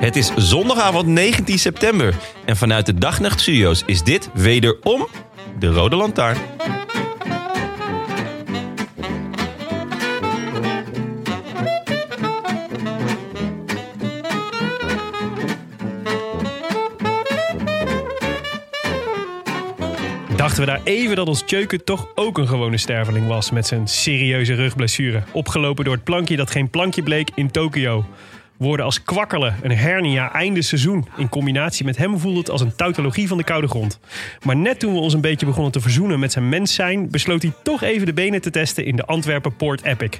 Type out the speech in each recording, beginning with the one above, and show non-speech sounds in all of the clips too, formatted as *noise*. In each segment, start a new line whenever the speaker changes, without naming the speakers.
Het is zondagavond 19 september. En vanuit de Dagnacht Studios is dit wederom de Rode Lantaarn.
Dachten we daar even dat ons Tjeuken toch ook een gewone sterveling was met zijn serieuze rugblessure. Opgelopen door het plankje dat geen plankje bleek in Tokio. Woorden als kwakkelen, een hernia, einde seizoen. In combinatie met hem voelde het als een tautologie van de koude grond. Maar net toen we ons een beetje begonnen te verzoenen met zijn mens zijn, besloot hij toch even de benen te testen in de Antwerpen Port Epic.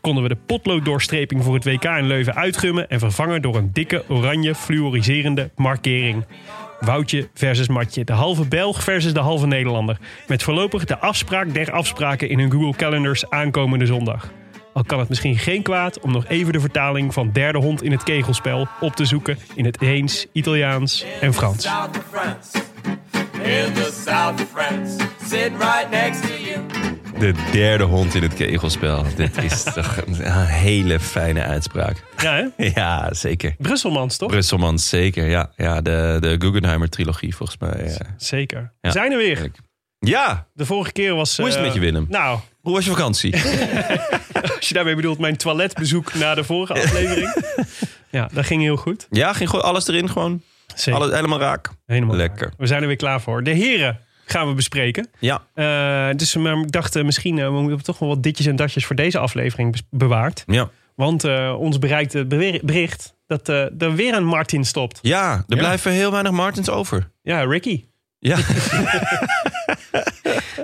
Konden we de potlooddoorstreping voor het WK in Leuven uitgummen en vervangen door een dikke oranje fluoriserende markering. Woutje versus Matje. De halve Belg versus de halve Nederlander. Met voorlopig de afspraak der afspraken in hun Google Calendars aankomende zondag. Al kan het misschien geen kwaad om nog even de vertaling van derde hond in het kegelspel op te zoeken in het Heens, Italiaans en Frans.
South of France. In the south of France. Sit right next to you.
De derde hond in het kegelspel. *laughs* Dit is toch een hele fijne uitspraak.
Ja, hè?
*laughs* Ja, zeker.
Brusselmans, toch?
Brusselmans, zeker. Ja, ja de, de Guggenheimer-trilogie volgens mij. eh.
Zeker.
Ja.
Zijn er weer.
Heerlijk. Ja,
De vorige keer was...
Hoe is het
eh,
met je, Willem?
Nou,
hoe was je vakantie?
als je daarmee bedoelt mijn toiletbezoek na de vorige
*laughs*
aflevering. Ja, dat ging heel goed.
*laughs* Ja, ging gewoon alles erin gewoon.
Zeker.
Alles helemaal raak.
Helemaal
Lekker.
We zijn er weer klaar voor. De heren gaan we bespreken.
Ja,
Eh, dus we maar dachten misschien, eh, we hebben toch wel wat ditjes en datjes voor deze aflevering bes- bewaard.
ja.
Want eh, ons bereikt het bewer- bericht dat eh, er weer een Martin stopt.
Ja, er
Ja.
blijven heel weinig Martins over.
Ja, Ricky.
Ja.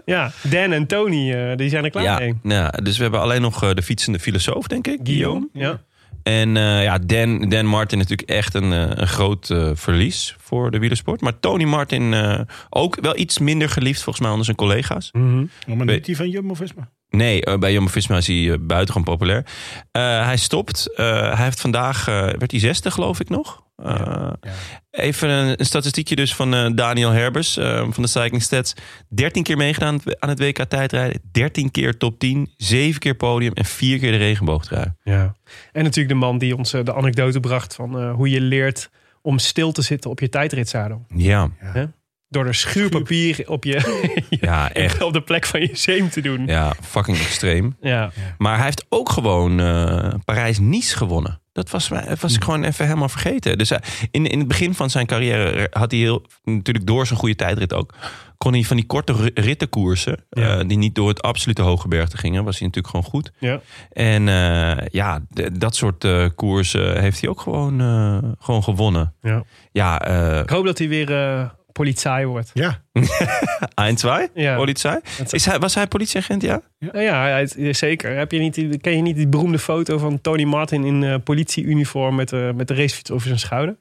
Ja, Dan en Tony, eh, die zijn er klaar
Ja,
mee.
nou ja, dus we hebben alleen nog eh, de fietsende filosoof, denk ik. Guillaume.
Ja.
En eh, ja, Dan, Dan Martin natuurlijk echt een, eh, een groot eh, verlies voor de wielersport. Maar Tony Martin eh, ook wel iets minder geliefd volgens mij onder zijn collega's.
Maar niet die van Jumbo-Visma.
Nee, eh, bij Jumbo-Visma is hij eh, buitengewoon populair. Eh, hij stopt. Eh, hij heeft vandaag, eh, werd hij zesde geloof ik nog. Eh, Even een, een statistiekje dus van eh, Daniel Herbers eh, van de Cycling Stats. 13 keer meegedaan aan het WK tijdrijden. 13 keer top 10. 7 keer podium en 4 keer de regenboogtrui.
ja. En natuurlijk de man die ons eh, de anekdote bracht van eh, hoe je leert om stil te zitten op je tijdritzadel.
Ja,
Door er schuurpapier op, je,
ja *laughs* echt.
op de plek van je zeem te doen.
Ja, fucking extreem.
ja.
Maar hij heeft ook gewoon eh, Parijs-Nice gewonnen. Dat was, mij- dat
Hmm.
was ik gewoon even helemaal vergeten. Dus hij- in, in het begin van zijn carrière had hij heel, natuurlijk door zijn goede tijdrit ook, kon hij van die korte ri- rittenkoersen,
Ja.
eh, die niet door het absolute hoge bergte gingen, was hij natuurlijk gewoon goed.
ja.
En eh, ja, d- dat soort eh, koersen heeft hij ook gewoon, eh, gewoon gewonnen.
Ja.
Ja, eh
Ik hoop dat hij weer eh politie wordt.
Ja.
Eindzwaai,
Ja.
politie. Is hij, was hij politieagent, ja?
Nou ja, hij is- is zeker. Heb je niet, die- ken je niet die beroemde foto van Tony Martin in eh, politieuniform met, eh, met de racefiets over zijn schouder?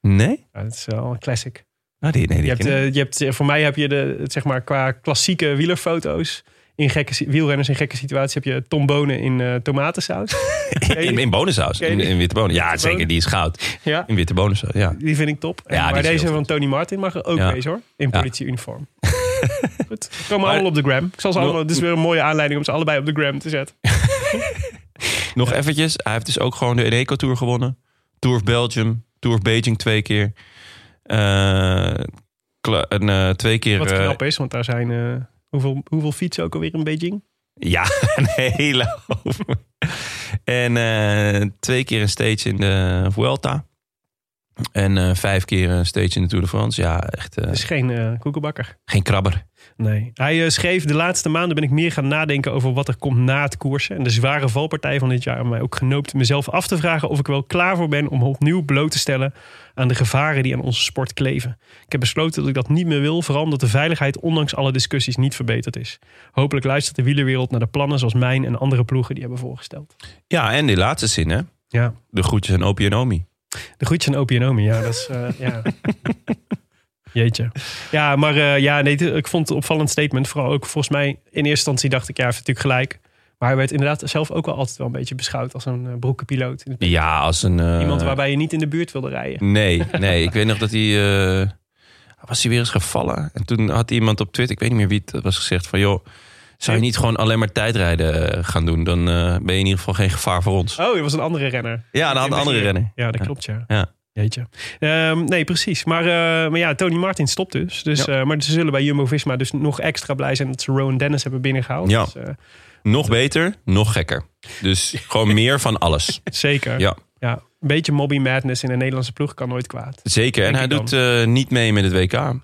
Nee?
Ja, dat is wel een classic.
Nou, die, nee, die
Je hebt,
ken ik
eh, je hebt, eh, voor mij heb je de, zeg maar, qua klassieke wielerfoto's. In gekke, si- wielrenners in gekke situaties heb je Tom Bonen in eh,
*laughs*
tomatensaus. Ken je
In,
die?
in bonensaus.
Ken je
In,
die?
in witte bonen. Ja,
Witte
zeker.
bonen?
Die is goud.
Ja,
In witte bonensaus, ja.
die vind ik top. En-
Ja, die
maar
is heel
deze
goed.
van Tony Martin mag er ook
Ja.
wezen hoor. In
Ja. *laughs*
politieuniform. Goed. We Komen
Maar-
allemaal op de gram. Ik zal ze
Nog-
allemaal, dit is weer een mooie aanleiding om ze allebei op de gram te zetten.
Nog eventjes. Hij heeft dus ook gewoon de Eneco Tour gewonnen. Tour of Belgium. Tour of Beijing twee keer. Eh, kla- een, eh, twee keer...
Wat
eh,
knap is, want daar zijn... eh, Hoeveel, hoeveel fietsen ook alweer in Beijing?
ja, *laughs* een hele hoop. En eh, twee keer een stage in de Vuelta. En eh, vijf keer een stage in de Tour de France. Ja, echt eh,
Het is geen eh koekenbakker.
geen krabber.
Nee. Hij eh, schreef, de laatste maanden ben ik meer gaan nadenken over wat er komt na het koersen. En de zware valpartij van dit jaar heeft mij ook genoopt mezelf af te vragen of ik wel klaar voor ben om opnieuw bloot te stellen aan de gevaren die aan onze sport kleven. Ik heb besloten dat ik dat niet meer wil, vooral omdat de veiligheid ondanks alle discussies niet verbeterd is. Hopelijk luistert de wielerwereld naar de plannen zoals mijn en andere ploegen die hebben voorgesteld.
Ja, en die laatste zin, hè?
Ja,
De groetjes aan Opie en Omi.
de groetjes aan Opie en Omi, ja, dat is... eh,
*laughs*
ja. Jeetje. Ja, maar eh, ja, nee, t- ik vond het opvallend statement. Vooral ook volgens mij, in eerste instantie dacht ik, ja, hij heeft natuurlijk gelijk. Maar hij werd inderdaad zelf ook wel altijd wel een beetje beschouwd als een eh, broekenpiloot.
Ja, als een. eh,
Iemand waarbij je niet in de buurt wilde rijden.
Nee, nee. Ik weet nog dat hij. eh, was hij weer eens gevallen? En toen had iemand op Twitter, ik weet niet meer wie het was, gezegd van joh. Zou je niet gewoon alleen maar tijdrijden eh, gaan doen? Dan eh, ben je in ieder geval geen gevaar voor ons.
Oh, er was een andere renner.
Ja, dan had een andere renner.
Ja, dat klopt, ja.
Ja.
Jeetje. Ehm, nee, precies. Maar, eh, maar ja, Tony Martin stopt dus. dus eh, maar ze zullen bij Jumbo-Visma dus nog extra blij zijn... dat ze Rowan Dennis hebben binnengehaald.
Ja.
Dus, eh,
Nog beter, nog gekker. Dus *laughs* gewoon meer van alles.
zeker.
Ja,
Ja, een beetje mobby madness in een Nederlandse ploeg kan nooit kwaad.
zeker. En
Denk
hij
ik dan.
doet eh, niet mee met het WK.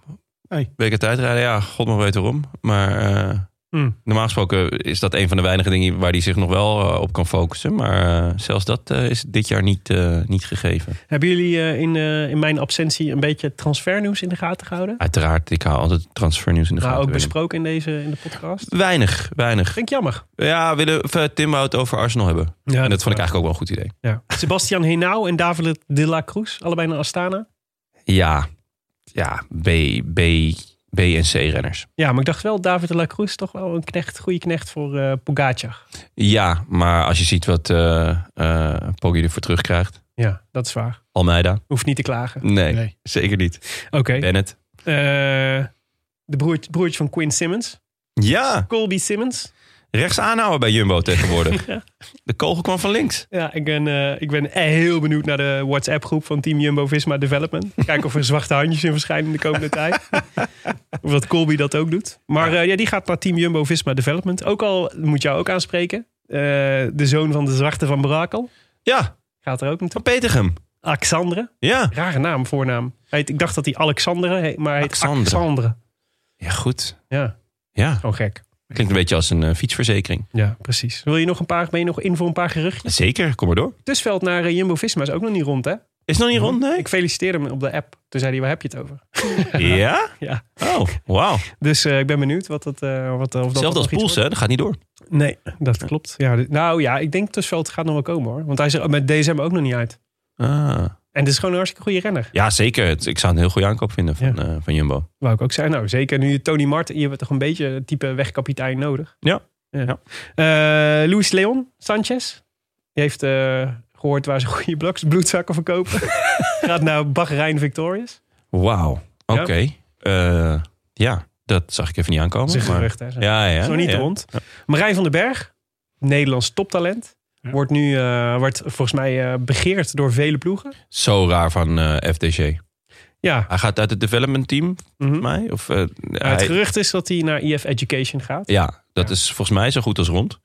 Nee.
WK tijdrijden, ja, god nog weet waarom. Maar eh,
Hmm.
normaal gesproken is dat een van de weinige dingen waar hij zich nog wel eh, op kan focussen. Maar eh, zelfs dat eh, is dit jaar niet, eh, niet gegeven.
Hebben jullie eh, in, eh, in mijn absentie een beetje transfernieuws in de gaten gehouden?
Uiteraard, ik hou altijd transfernieuws in de
Nou,
gaten.
ook
Willem.
besproken in deze in de podcast.
Weinig, weinig.
Vind ik jammer.
Ja, willen of, eh, Tim wou het over Arsenal hebben.
Ja, eh,
en dat vond ik eigenlijk ook wel een goed idee.
Ja. Sebastian Henao en David de la Cruz, allebei naar Astana.
Ja, ja B, B, B en C-renners.
Ja, maar ik dacht wel, David de la Cruz is toch wel een knecht, goede knecht voor eh Pogacar.
Ja, maar als je ziet wat eh eh Poggi ervoor terugkrijgt.
Ja, dat is waar.
Almeida?
Hoeft niet te klagen.
Nee,
Nee.
zeker niet.
Oké.
Bennett?
Eh, de broertje, broertje van Quinn Simmons.
Ja,
Colby Simmons.
rechts aanhouden bij Jumbo
*laughs*
tegenwoordig. De kogel kwam van links.
Ja, ik ben, eh, ik ben heel benieuwd naar de WhatsApp-groep van Team Jumbo-Visma Development. Kijken of er zwarte handjes in verschijnen in de komende tijd. Of dat Colby dat ook doet. Maar eh, ja, die gaat naar Team Jumbo-Visma Development. Ook al, moet jou ook aanspreken, eh, de zoon van de zwarte van Brakel
Ja,
gaat er ook naartoe.
van Petergem.
Alexandre,
Ja.
rare naam, voornaam. Heet, ik dacht dat hij Alexandre heet, maar hij heet
Alexandre.
Alexandre.
Ja, goed.
Ja,
Ja,
gewoon gek.
klinkt een beetje als een eh, fietsverzekering.
Ja, precies. Wil je nog een paar, ben je nog in voor een paar geruchten?
Zeker, kom maar door.
Tussveld naar eh, Jumbo-Visma is ook nog niet rond, hè?
Is het nog niet rond? Nee.
Ik feliciteerde hem op de app. Toen zei hij, waar heb je het over?
Ja?
Ja.
Oh, wauw.
Dus eh, ik ben benieuwd wat dat... eh wat, of dat
Hetzelfde als
nog iets
Poels, hè? Dat gaat niet door.
wordt. Nee, dat klopt. Ja, dit- nou ja, ik denk Tussveld gaat nog wel komen hoor. Want hij is er met DSM ook nog niet uit.
Ah.
En het is gewoon een hartstikke goede renner.
Ja, zeker. Het- Ik zou het een heel goede aankoop vinden van,
Ja.
eh, van Jumbo.
Wou ik ook zeggen. Nou, zeker nu Tony Martin. Je hebt toch een beetje het type wegkapitein nodig.
Ja.
ja. Eh, Luis Leon Sanchez. Die heeft eh, gehoord waar ze goede bloks,
*laughs*
bloedzakken verkopen. gaat naar Bahrein Victorious.
Wauw. Oké. Eh, ja, dat zag ik even niet aankomen.
Dat is een
maar-
gerucht hè. Zo.
Ja, ja.
Is nog niet
ja.
rond. Marijn van den Berg, Nederlands toptalent.
Ja.
Wordt nu eh, wordt volgens mij eh, begeerd door vele ploegen.
Zo raar van eh, FDG.
Ja,
Hij gaat uit het development team,
mhm.
volgens mij. Of, eh,
Maar het
hij-
gerucht is dat hij naar EF Education gaat.
ja, dat is volgens mij zo goed als rond.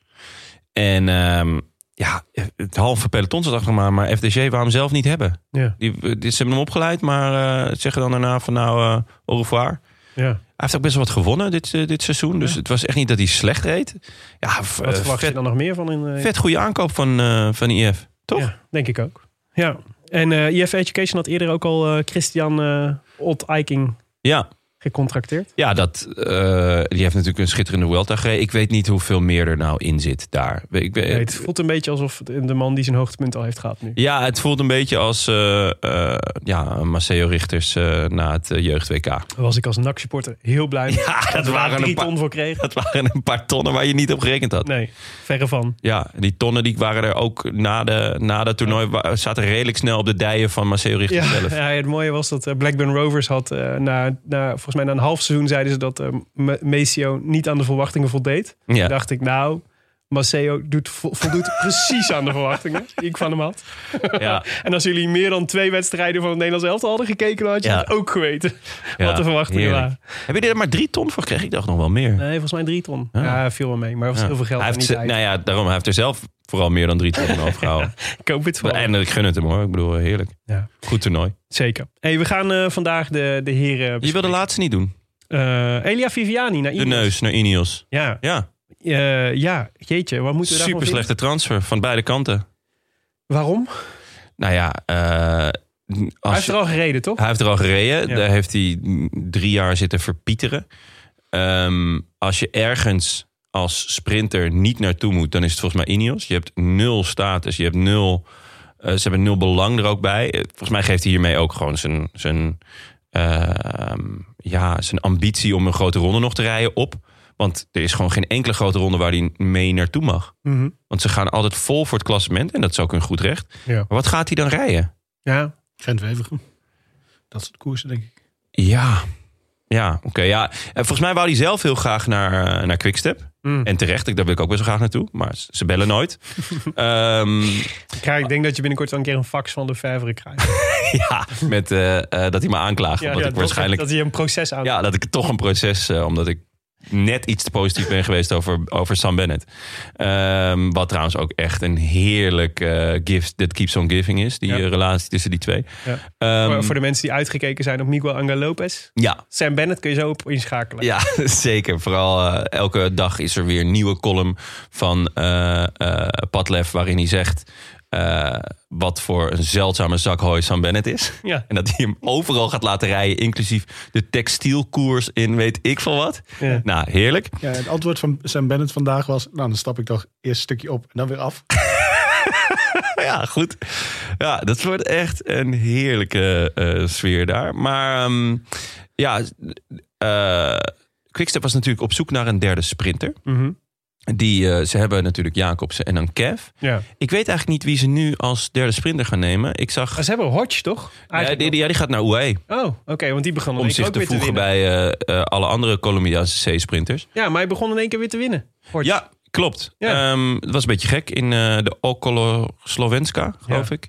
En ehm, ja, het halve peloton zat achter me, maar FDG wou hem zelf niet hebben.
Ja.
Die, die, ze hebben hem opgeleid, maar eh, zeggen dan daarna van nou, eh au revoir.
Ja.
Hij heeft ook best wel wat gewonnen dit, eh, dit seizoen. Dus het was echt niet dat hij slecht reed. Ja, v-
Wat
eh,
verwacht je
vet,
dan nog meer van? In, eh,
vet goede aankoop van, eh, van IF. Toch?
Ja, denk ik ook. Ja. En eh EF Education had eerder ook al eh, Christian eh Ott Eiking
Ja,
gecontracteerd.
ja dat, eh, die heeft natuurlijk een schitterende Vuelta gereden. Ik weet niet hoeveel meer er nou in zit daar. Ik, weet-
Nee, het voelt een beetje alsof de de man die zijn hoogtepunt al heeft gehad nu.
Ja, het voelt een beetje als eh, eh, ja, Maceo Richters eh, na het jeugd-WK.
Daar was ik als NAC-supporter heel blij mee.
*laughs* Ja, dat
Dat we daar
waren
drie
een paar-
ton voor kregen.
Dat waren een paar tonnen waar je niet op gerekend had.
Nee, verre van.
Ja, die tonnen die waren er ook na, de, na dat toernooi... wa- zaten redelijk snel op de dijen van Maceo Richters
Ja,
zelf.
ja, het mooie was dat eh, Blackburn Rovers had, eh, na, na, volgens mij na een half seizoen zeiden ze dat eh, Me- Maceo niet aan de verwachtingen voldeed.
Ja.
Toen dacht ik, nou, Maceo doet, vo- voldoet *laughs* precies aan de verwachtingen die ik van hem had.
Ja.
En als jullie meer dan twee wedstrijden van het Nederlands elftal hadden gekeken, dan had je
Ja.
het ook geweten
Ja,
wat de verwachtingen
heerlijk.
waren.
Heb je er maar drie ton voor gekregen? Ik dacht nog wel meer.
Nee, volgens mij drie ton.
Ah.
Ja, viel wel mee, maar er was
Ja.
heel veel geld
hij
aan
heeft,
die
ze-
tijd.
nou ja, daarom, hij heeft er zelf vooral meer dan drie
*laughs*
toernooi overgehouden.
Ik hoop het wel.
En ik gun het hem hoor. Ik bedoel, heerlijk.
Ja.
Goed toernooi.
Zeker. Hey, we gaan eh, vandaag de, de heren...
Je wil de laatste niet doen.
Eh, Elia Viviani naar
De
Ineos.
neus naar Ineos.
Ja,
Ja,
eh, ja, jeetje, wat moeten we daarvan
super
vinden?
slechte transfer van beide kanten.
Waarom?
Nou ja, eh,
Hij
als
heeft
je-
er al gereden, toch?
Hij heeft er al gereden.
Ja.
Daar heeft hij drie jaar zitten verpieteren. Ehm, als je ergens als sprinter niet naartoe moet, dan is het volgens mij Ineos. Je hebt nul status, je hebt nul. eh, ze hebben nul belang er ook bij. Eh, Volgens mij geeft hij hiermee ook gewoon zijn, zijn, ehm, ja, zijn ambitie om een grote ronde nog te rijden op. Want er is gewoon geen enkele grote ronde waar hij mee naartoe mag.
Mhm.
Want ze gaan altijd vol voor het klassement. En dat is ook hun goed recht.
Ja.
Maar wat gaat hij dan rijden?
Ja.
Gent-Wevergem. Dat soort koersen, denk ik.
Ja. Ja, oké. ja. En volgens mij wou hij zelf heel graag naar, eh, naar Quickstep.
Mm.
En terecht, ik- daar wil ik ook best wel graag naartoe. Maar ze- ze bellen
*laughs*
nooit. Ehm,
Ik krijg- ik denk dat je binnenkort wel een keer een fax van de Vijveren
*laughs*
krijgt.
ja, met, eh, eh, dat hij me aanklaagt.
Ja,
omdat
ja,
ik waarschijnlijk...
Dat, dat je een proces aan...
ja, dat ik toch een proces... eh, omdat ik net iets te positief ben geweest over, over Sam Bennett. Ehm, wat trouwens ook echt een heerlijk eh, gift... that keeps on giving is. Die
Ja.
eh, relatie tussen die twee.
Ja.
Ehm,
Voor- voor de mensen die uitgekeken zijn op Miguel Angel Lopez.
ja,
Sam Bennett kun je zo op inschakelen.
Ja, *laughs* zeker. Vooral eh, elke dag is er weer een nieuwe column van eh eh, Padlef... waarin hij zegt eh, wat voor een zeldzame zak hooi Sam Bennett is.
Ja.
En dat hij hem overal gaat laten rijden... inclusief de textielkoers in weet ik veel wat.
Ja.
Nou, heerlijk. *laughs*
Ja, het antwoord van Sam Bennett vandaag was... Nou, dan stap ik toch eerst een stukje op en dan weer af.
Nou Ja, goed. Ja, dat wordt echt een heerlijke eh, sfeer daar. Maar ehm, ja, eh Quickstep was natuurlijk op zoek naar een derde sprinter...
Mhm.
Die, eh, ze hebben natuurlijk Jacobsen en dan Kev.
ja.
Ik weet eigenlijk niet wie ze nu als derde sprinter gaan nemen. Ik zag.
Maar ze hebben Hodge, toch?
Ja,
Eigenlijk
die, die- ja, die gaat naar UAE.
wel. Oh, oké, want die begon in
Om
één
zich
keer ook
te
weer
voegen
winnen.
bij eh, eh, alle andere Colombiaanse C-sprinters.
Ja, maar hij begon in één keer weer te winnen. Hodge.
Ja, klopt.
Ja.
Ehm, het was een beetje gek in eh, de Okolo Slovenska, geloof
Ja.
ik.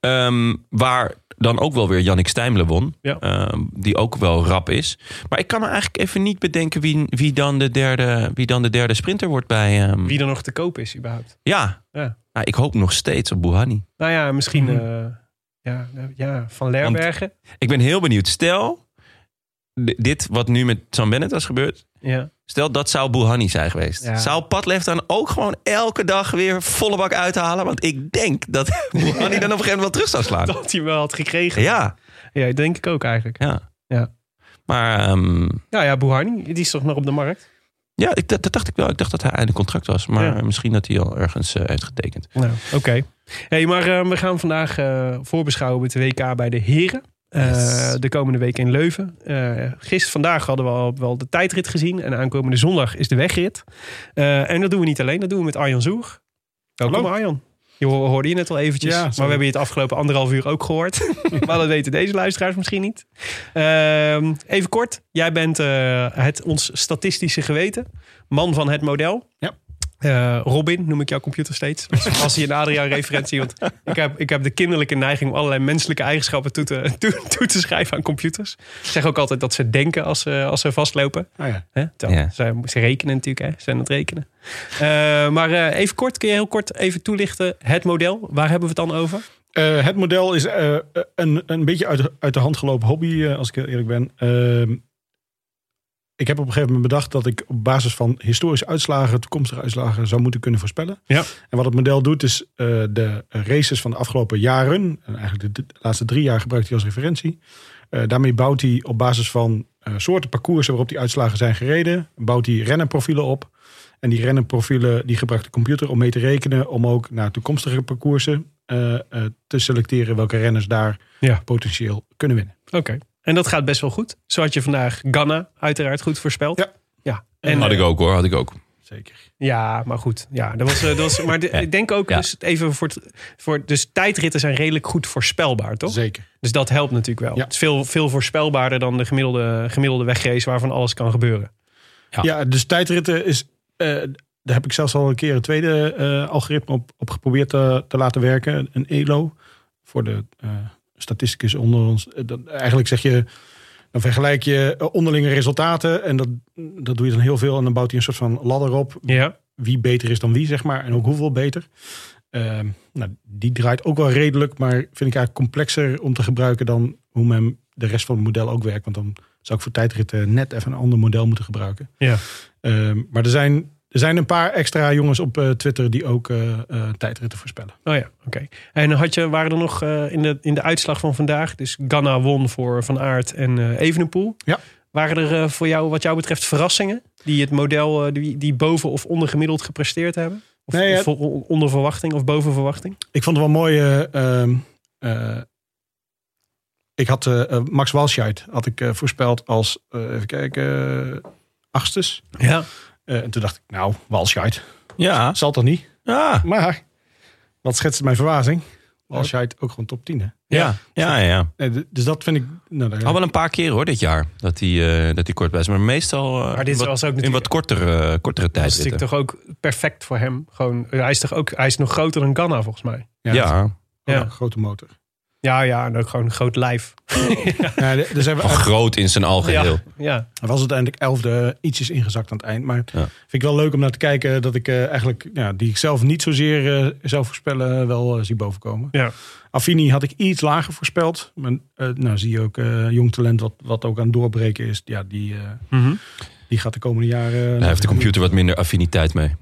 Ehm, waar dan ook wel weer Jannik Stijmle won.
Ja.
Ehm, die ook wel rap is. Maar ik kan me eigenlijk even niet bedenken wie, wie, dan, de derde, wie dan de derde sprinter wordt bij. ehm,
Wie er nog te koop is, überhaupt.
Ja.
Ja.
Nou, ik hoop nog steeds op Buhani.
Nou ja, misschien
Mhm.
eh, ja, nou, ja, Van Lerbergen.
Ik ben heel benieuwd. Stel, d- dit wat nu met Sam Bennett was gebeurd.
Ja.
Stel, dat zou Bouhanni zijn geweest.
Ja.
Zou Padlef dan ook gewoon elke dag weer volle bak uithalen? Want ik denk dat *laughs* Bouhanni dan op een gegeven moment wel terug zou slaan.
*laughs* *laughs* Dat hij wel had gekregen.
Ja,
Ja, denk ik ook eigenlijk.
ja.
Ja.
Maar ehm,
Nou ja, Buhani, die is toch nog op de markt?
ja, ik, dat, dat dacht ik wel. Ik dacht dat hij einde contract was. Maar
Ja.
misschien dat hij al ergens eh, heeft getekend.
Nou, oké. Hey, maar eh, we gaan vandaag eh, voorbeschouwen met de WK bij de heren. Eh,
Yes.
De komende week in Leuven. Eh gisteren, vandaag hadden we al wel de tijdrit gezien. En aankomende zondag is de wegrit. Eh, en dat doen we niet alleen, dat doen we met Arjan Zoer. Welkom
Hallo.
Arjan. Je ho- hoorde je net al eventjes.
Ja,
maar we
sorry.
hebben je het afgelopen anderhalf uur ook gehoord. *laughs* maar dat weten deze luisteraars misschien niet. Ehm, even kort. Jij bent eh, het, ons statistische geweten. Man van het model.
Ja.
Eh, Robin noem ik jouw computer steeds. Als, als hij een Adriaan-referentie.
*laughs*
Want ik heb, ik heb de kinderlijke neiging om allerlei menselijke eigenschappen toe te, *laughs* toe, toe te schrijven aan computers. Ik zeg ook altijd dat ze denken als ze, als ze vastlopen.
Nou ja.
Hè? Terwijl
Ja.
Ze, ze rekenen natuurlijk, hè? ze zijn aan het rekenen. Eh, maar eh, even kort, kun je heel kort even toelichten het model. Waar hebben we het dan over?
Eh, het model is eh, eh, een, een beetje uit, de- uit de hand gelopen hobby, eh, als ik heel eerlijk ben. Ehm, ik heb op een gegeven moment bedacht dat ik op basis van historische uitslagen, toekomstige uitslagen, zou moeten kunnen voorspellen.
Ja.
En wat het model doet, is eh, de races van de afgelopen jaren, en eigenlijk de, de laatste drie jaar gebruikt hij als referentie. Eh, daarmee bouwt hij op basis van eh, soorten parcoursen waarop die uitslagen zijn gereden, bouwt hij rennenprofielen op. En die rennenprofielen die gebruikt de computer om mee te rekenen, om ook naar toekomstige parcoursen eh, eh, te selecteren welke renners daar
Ja.
potentieel kunnen winnen.
Oké. En dat gaat best wel goed. Zo had je vandaag Ghana uiteraard goed voorspeld.
Ja.
ja. En, eh,
had ik ook hoor, had ik ook.
Zeker.
Ja, maar goed. Ja, dat was, eh, dat
*laughs*
was, maar de-
Ja.
ik denk ook
Ja.
dus even voor, het- voor. Dus tijdritten zijn redelijk goed voorspelbaar, toch?
Zeker.
Dus dat helpt natuurlijk wel.
Ja.
Het is veel, veel voorspelbaarder dan de gemiddelde, gemiddelde wegrace waarvan alles kan gebeuren. Ah.
Ja, dus tijdritten is. eh, daar heb ik zelfs al een keer een tweede eh, algoritme op, op geprobeerd te, te laten werken. Een ELO. Voor de eh statisticus onder ons. Eh, dat- eigenlijk zeg je. Dan vergelijk je eh, onderlinge resultaten. En dat, dat doe je dan heel veel. En dan bouwt hij een soort van ladder op.
Ja.
wie beter is dan wie, zeg maar. En ook hoeveel beter. Ehm, nou, die draait ook wel redelijk, maar vind ik eigenlijk complexer om te gebruiken dan hoe men de rest van het model ook werkt. Want dan zou ik voor tijdritten net even een ander model moeten gebruiken.
Ja.
Ehm, maar er zijn, er zijn een paar extra jongens op eh, Twitter die ook eh, eh, tijdritten voorspellen.
Oh ja, oké. En had je, waren er nog eh, in, de, in de uitslag van vandaag, dus Ghana won voor Van Aert en eh Evenepoel.
Ja.
Waren er eh, voor jou, wat jou betreft, verrassingen die het model, eh, die, die boven of ondergemiddeld gepresteerd hebben? Of,
Nee, ja.
of on- onder verwachting of boven verwachting?
Ik vond het wel mooi. eh, ehm, eh, ik had eh, eh, Max Walscheid had ik eh, voorspeld als eh, even kijken eh, achtstes.
Ja.
Eh, en toen dacht ik, nou, Walscheid
Ja.
zal toch niet.
Ja.
Maar wat schetst mijn verwazing? Walscheid ook gewoon top 10. Hè?
Ja. Ja, ja, ja.
Nee, d- dus dat vind ik. Nou, daar-
Al wel een paar keer hoor dit jaar dat hij eh, dat hij kort was. Maar meestal eh,
Maar dit
wat-
was ook
in
natuurlijk-
wat kortere, eh, kortere
Dat
tijd
is natuurlijk
zitten.
toch ook perfect voor hem. Gewoon, hij, is toch ook, hij is nog groter dan Ghana volgens mij.
ja,
ja.
ook
ja.
een grote motor. *laughs*
Ja, ja, en ook gewoon een groot lijf.
Ja, d- dus hebben we-
Van groot in zijn algeheel.
Ja, ja.
Hij was uiteindelijk elfde, ietsjes ingezakt aan het eind. Maar
Ja.
vind ik wel leuk om naar te kijken dat ik eh, eigenlijk, ja, die ik zelf niet zozeer eh, zou voorspellen, wel eh, zie bovenkomen.
Ja.
Affini had ik iets lager voorspeld. Maar eh, nou zie je ook eh, jong talent wat, wat ook aan het doorbreken is. Ja, die, eh,
Mhm.
die gaat de komende jaren...
Daar heeft de computer wat minder affiniteit mee.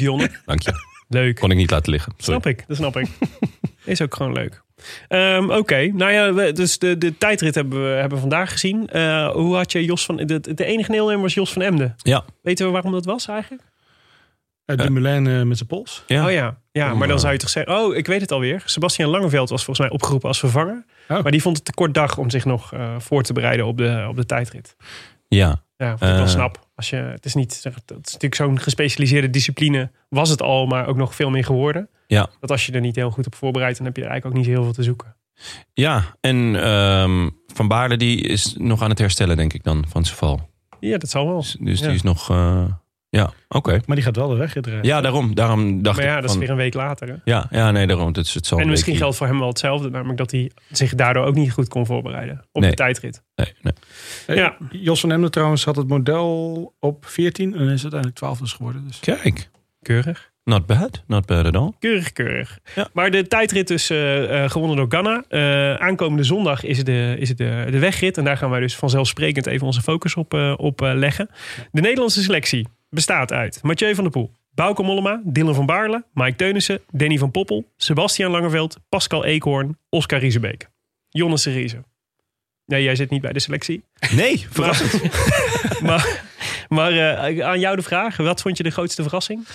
*laughs*
Jonne.
Dank je.
Leuk.
Kon ik niet laten liggen. Sorry.
Snap ik, dat snap ik. *laughs* Is ook gewoon leuk. Ehm, Oké, nou ja, we- dus de, de tijdrit hebben we, hebben we vandaag gezien. Eh, hoe had je Jos van... De, de enige deelnemer was Jos van Emden.
Ja.
Weten we waarom dat was eigenlijk?
Eh, Dumoulin eh, met zijn pols.
Ja. eh,
Oh ja, ja maar dan zou je toch zeggen... Oh, ik weet het alweer. Sebastian Langeveld was volgens mij opgeroepen als vervanger.
Oh.
Maar die vond het te kort dag om zich nog eh, voor te bereiden op de, op de tijdrit.
Ja.
Ja, wat ik wel
Eh.
snap. Als je, het, is niet, het is natuurlijk zo'n gespecialiseerde discipline. Was het al, maar ook nog veel meer geworden.
Ja.
Dat als je er niet heel goed op voorbereidt... dan heb je er eigenlijk ook niet heel veel te zoeken.
Ja, en ehm, Van Baarle die is nog aan het herstellen, denk ik dan, van zijn val.
Ja, dat zal wel.
Dus, dus
Oh, Ja.
die is nog... eh, ja, oké.
Maar die gaat wel de wegrit rijden.
Ja, daarom, daarom dacht
Maar ja,
ik
dat is
van...
weer een week later. hè.
Ja, ja, nee, daarom. Dat is het zo
En misschien geldt voor hem wel hetzelfde, namelijk dat hij zich daardoor ook niet goed kon voorbereiden op
Nee.
de tijdrit.
Nee, nee.
Eh,
Ja.
Jos van Emden trouwens had het model op 14 en is uiteindelijk 12 dus geworden. Dus.
Kijk,
Keurig.
not bad. Not bad at
*laughs*
all.
Keurig, keurig.
Ja.
Maar de tijdrit dus eh, eh, gewonnen door Ghana. Eh, aankomende zondag is het, de, is het de, de wegrit. En daar gaan wij dus vanzelfsprekend even onze focus op, eh, op eh, leggen. De Nederlandse selectie bestaat uit Mathieu van der Poel, Bauke Mollema, Dylan van Baarle, Mike Teunissen, Danny van Poppel, Sebastian Langeveld, Pascal Eekhoorn, Oscar Riesebeek. Jonne Serize. Nee, jij zit niet bij de selectie.
Nee, verrassend.
maar *laughs* maar eh, aan jou de vraag. Wat vond je de grootste verrassing?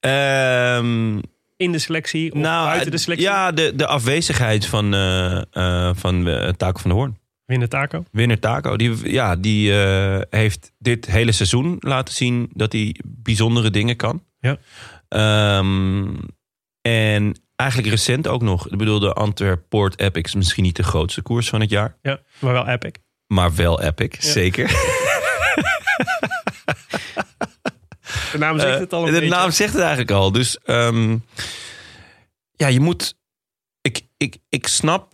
Ehm,
In de selectie of
nou,
buiten de selectie?
Ja, de, de afwezigheid van, eh eh, van eh, Taco van de Hoorn.
Winnen Taco.
Winner Taco, die, ja, die eh, heeft dit hele seizoen laten zien dat hij bijzondere dingen kan.
Ja.
Ehm, en eigenlijk recent ook nog. Ik bedoel, de Antwerp Port Epic is misschien niet de grootste koers van het jaar.
Ja, maar wel epic.
Maar wel epic, zeker.
De naam zegt het al een
Eh, de
beetje.
naam zegt het eigenlijk al. Dus ehm, ja, je moet... Ik, ik, ik snap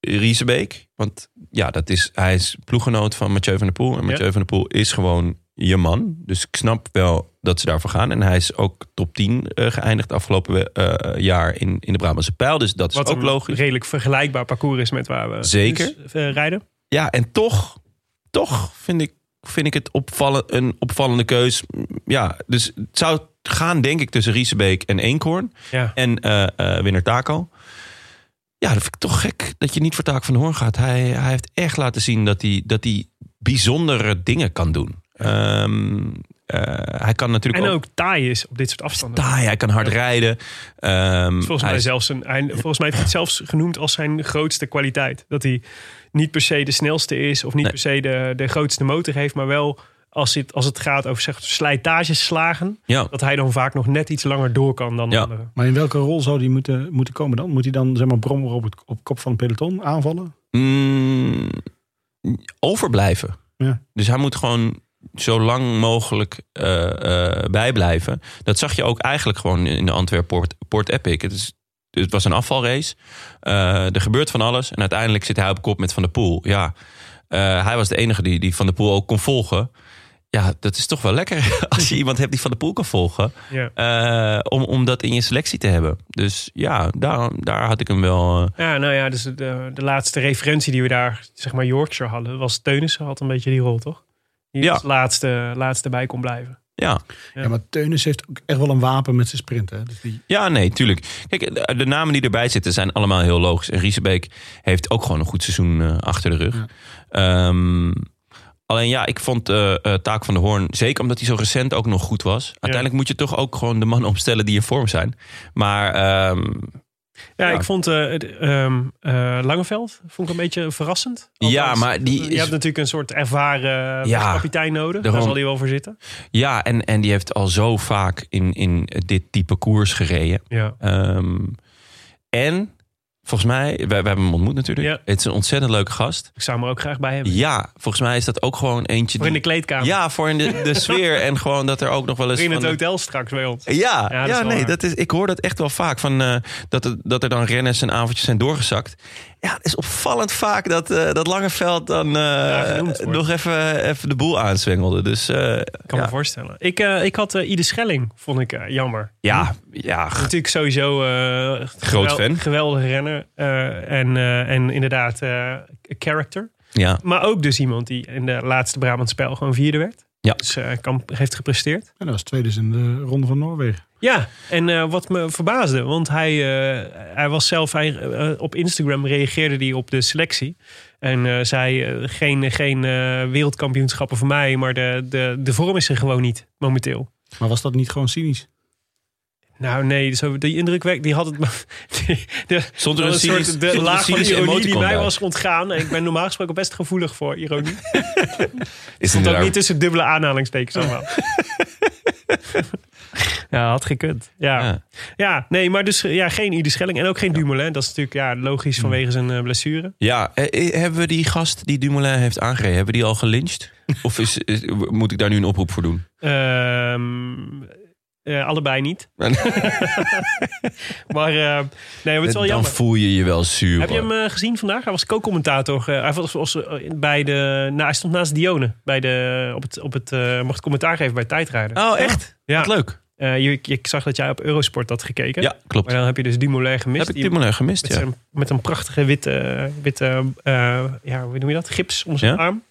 Riesebeek. Want ja, dat is, hij is ploeggenoot van Mathieu van der Poel. En Mathieu van der Poel is gewoon je man. Dus ik snap wel dat ze daarvoor gaan. En hij is ook top 10 eh, geëindigd afgelopen eh, jaar in, in de Brabantse Pijl. Dus dat is
Wat
ook
een
logisch.
redelijk vergelijkbaar parcours is met waar we
Zeker.
dus, eh, rijden.
ja, en toch, toch vind ik, vind ik het opvallen, een opvallende keus. Ja, dus het zou gaan, denk ik, tussen Riesebeek en Eenkhoorn.
Ja.
En eh eh, winnaar Taco. Ja, dat vind ik toch gek dat je niet voor Taco van de Hoorn gaat. Hij, hij heeft echt laten zien dat hij, dat hij bijzondere dingen kan doen. Ehm, eh, hij kan natuurlijk
En
ook...
ook taai is op dit soort afstanden.
taai, hij kan hard rijden. Ehm,
Dus Volgens
hij
mij,
is-
zelfs een, hij, volgens mij heeft hij het zelfs genoemd als zijn grootste kwaliteit. Dat hij niet per se de snelste is of niet
Nee.
per se de, de grootste motor heeft, maar wel als het, als het gaat over zeg, slijtageslagen,
Ja.
dat hij dan vaak nog net iets langer door kan dan
Ja.
anderen.
Maar in welke rol zou die moeten, moeten komen dan? Moet hij dan zeg maar brommer op, het, op kop van het peloton aanvallen?
Mm, overblijven.
Ja.
Dus hij moet gewoon zo lang mogelijk eh, eh, bijblijven. Dat zag je ook eigenlijk gewoon in de Antwerp Port, Port Epic. Het, is, het was een afvalrace. Eh, er gebeurt van alles. En uiteindelijk zit hij op kop met Van der Poel. Ja, eh, hij was de enige die, die Van der Poel ook kon volgen. Ja, dat is toch wel lekker *laughs* als je iemand hebt die van de pool kan volgen.
Ja.
eh, om, om dat in je selectie te hebben. Dus ja, daar, daar had ik hem wel. eh,
Ja, nou ja, dus de, de laatste referentie die we daar, zeg maar Yorkshire hadden, was Teunissen had een beetje die rol, toch? Die
Ja.
als laatste, laatste bij kon blijven.
ja.
Ja. maar Teunis heeft ook echt wel een wapen met zijn sprint. Hè? Dus die,
ja, nee, tuurlijk. Kijk, eh, de, de namen die erbij zitten zijn allemaal heel logisch. En Riesebeek heeft ook gewoon een goed seizoen eh, achter de rug. Ehm, alleen ja, ik vond eh, eh, Taak van de Hoorn, zeker omdat hij zo recent ook nog goed was. Uiteindelijk moet je toch ook gewoon de mannen opstellen die in vorm zijn. Maar ehm,
Ja,
Ja.
ik vond eh, het, ehm, eh, Langeveld vond ik een beetje verrassend.
Ja, maar die
Je
is-
hebt natuurlijk een soort ervaren eh,
Ja,
kapitein nodig. Daar
daarom.
zal hij wel voor zitten.
ja, en, en die heeft al zo vaak in, in dit type koers gereden.
Ja.
Ehm, en volgens mij, wij, wij hebben hem ontmoet natuurlijk.
Ja.
Het is een ontzettend leuke gast.
Ik zou hem er ook graag bij hebben.
Ja, volgens mij is dat ook gewoon eentje.
Voor in de
die-
kleedkamer.
ja, voor in
*laughs*
de, de sfeer. En gewoon dat er ook nog wel eens.
Voor in
van
het
de-
hotel straks bij ons.
Ja,
Ja,
ja,
dat is wel
nee,
waar.
dat is, ik hoor dat echt wel vaak. Van, eh, dat, er, dat er dan renners en avondjes zijn doorgezakt. Ja, het is opvallend vaak dat, eh dat Langeveld dan eh,
genoemd wordt.
nog even, even de boel aanzwengelde. Dus eh,
Ik kan
ja.
me voorstellen. Ik, eh, ik had eh Ide Schelling, vond ik eh, jammer.
ja, ja, g-
Natuurlijk sowieso eh,
Groot
gewel-
fan.
Geweldige renner. eh, en, eh, en inderdaad eh, character.
ja.
Maar ook dus iemand die in de laatste Brabant spel gewoon vierde werd.
Ja.
Dus eh, Kamp heeft gepresteerd.
en dat was tweede dus in de Ronde van Noorwegen.
Ja, en eh, wat me verbaasde, want hij, eh, hij was zelf hij, eh, op Instagram reageerde hij op de selectie. En eh, zei: eh, Geen, geen eh, wereldkampioenschappen voor mij, maar de, de, de vorm is er gewoon niet momenteel.
Maar was dat niet gewoon cynisch?
Nou nee, zo, die indruk wekt, die had het. *laughs* maar- Die, de,
Stond er
wel
een cynisch-
soort de
stond er een
laag van
cynische
ironie die
emoticon
mij
bij?
was ontgaan. En ik ben normaal gesproken best gevoelig voor ironie.
Is
Stond ook
inderdaad-
niet tussen dubbele aanhalingstekens allemaal. *laughs* ja, had gekund. Ja. ja.
Oh. Ja.
nee, maar dus eh, ja, geen Ide Schelling en ook geen Dumoulin. Dat is natuurlijk ja,
Mm.
logisch vanwege zijn eh, blessure.
Ja, eh, eh, hebben we die gast die Dumoulin heeft aangereden, hebben we die al
*laughs*
gelyncht? Of is, is- moet ik daar nu een oproep voor doen?
Ehm, eh, allebei niet.
Dan
Maar eh, nee, maar het is wel jammer.
voel je je wel zuur.
Heb je hem
hoor.
eh, gezien vandaag? Hij was co-commentator. eh, hij, was, was, eh, bij de, nou, hij stond naast Dione. Bij de, op het, op het, eh, mocht commentaar geven bij Tijdrijden.
Oh, echt?
ja.
Wat leuk.
Eh, je, ik zag dat jij op Eurosport had gekeken.
Ja, klopt.
Maar dan heb je dus Dumoulin gemist.
Heb ik
Die-
Dumoulin gemist,
Met,
ja.
zijn- met een prachtige witte, witte eh, ja, hoe noem je dat? Gips om zijn
Ja?
arm.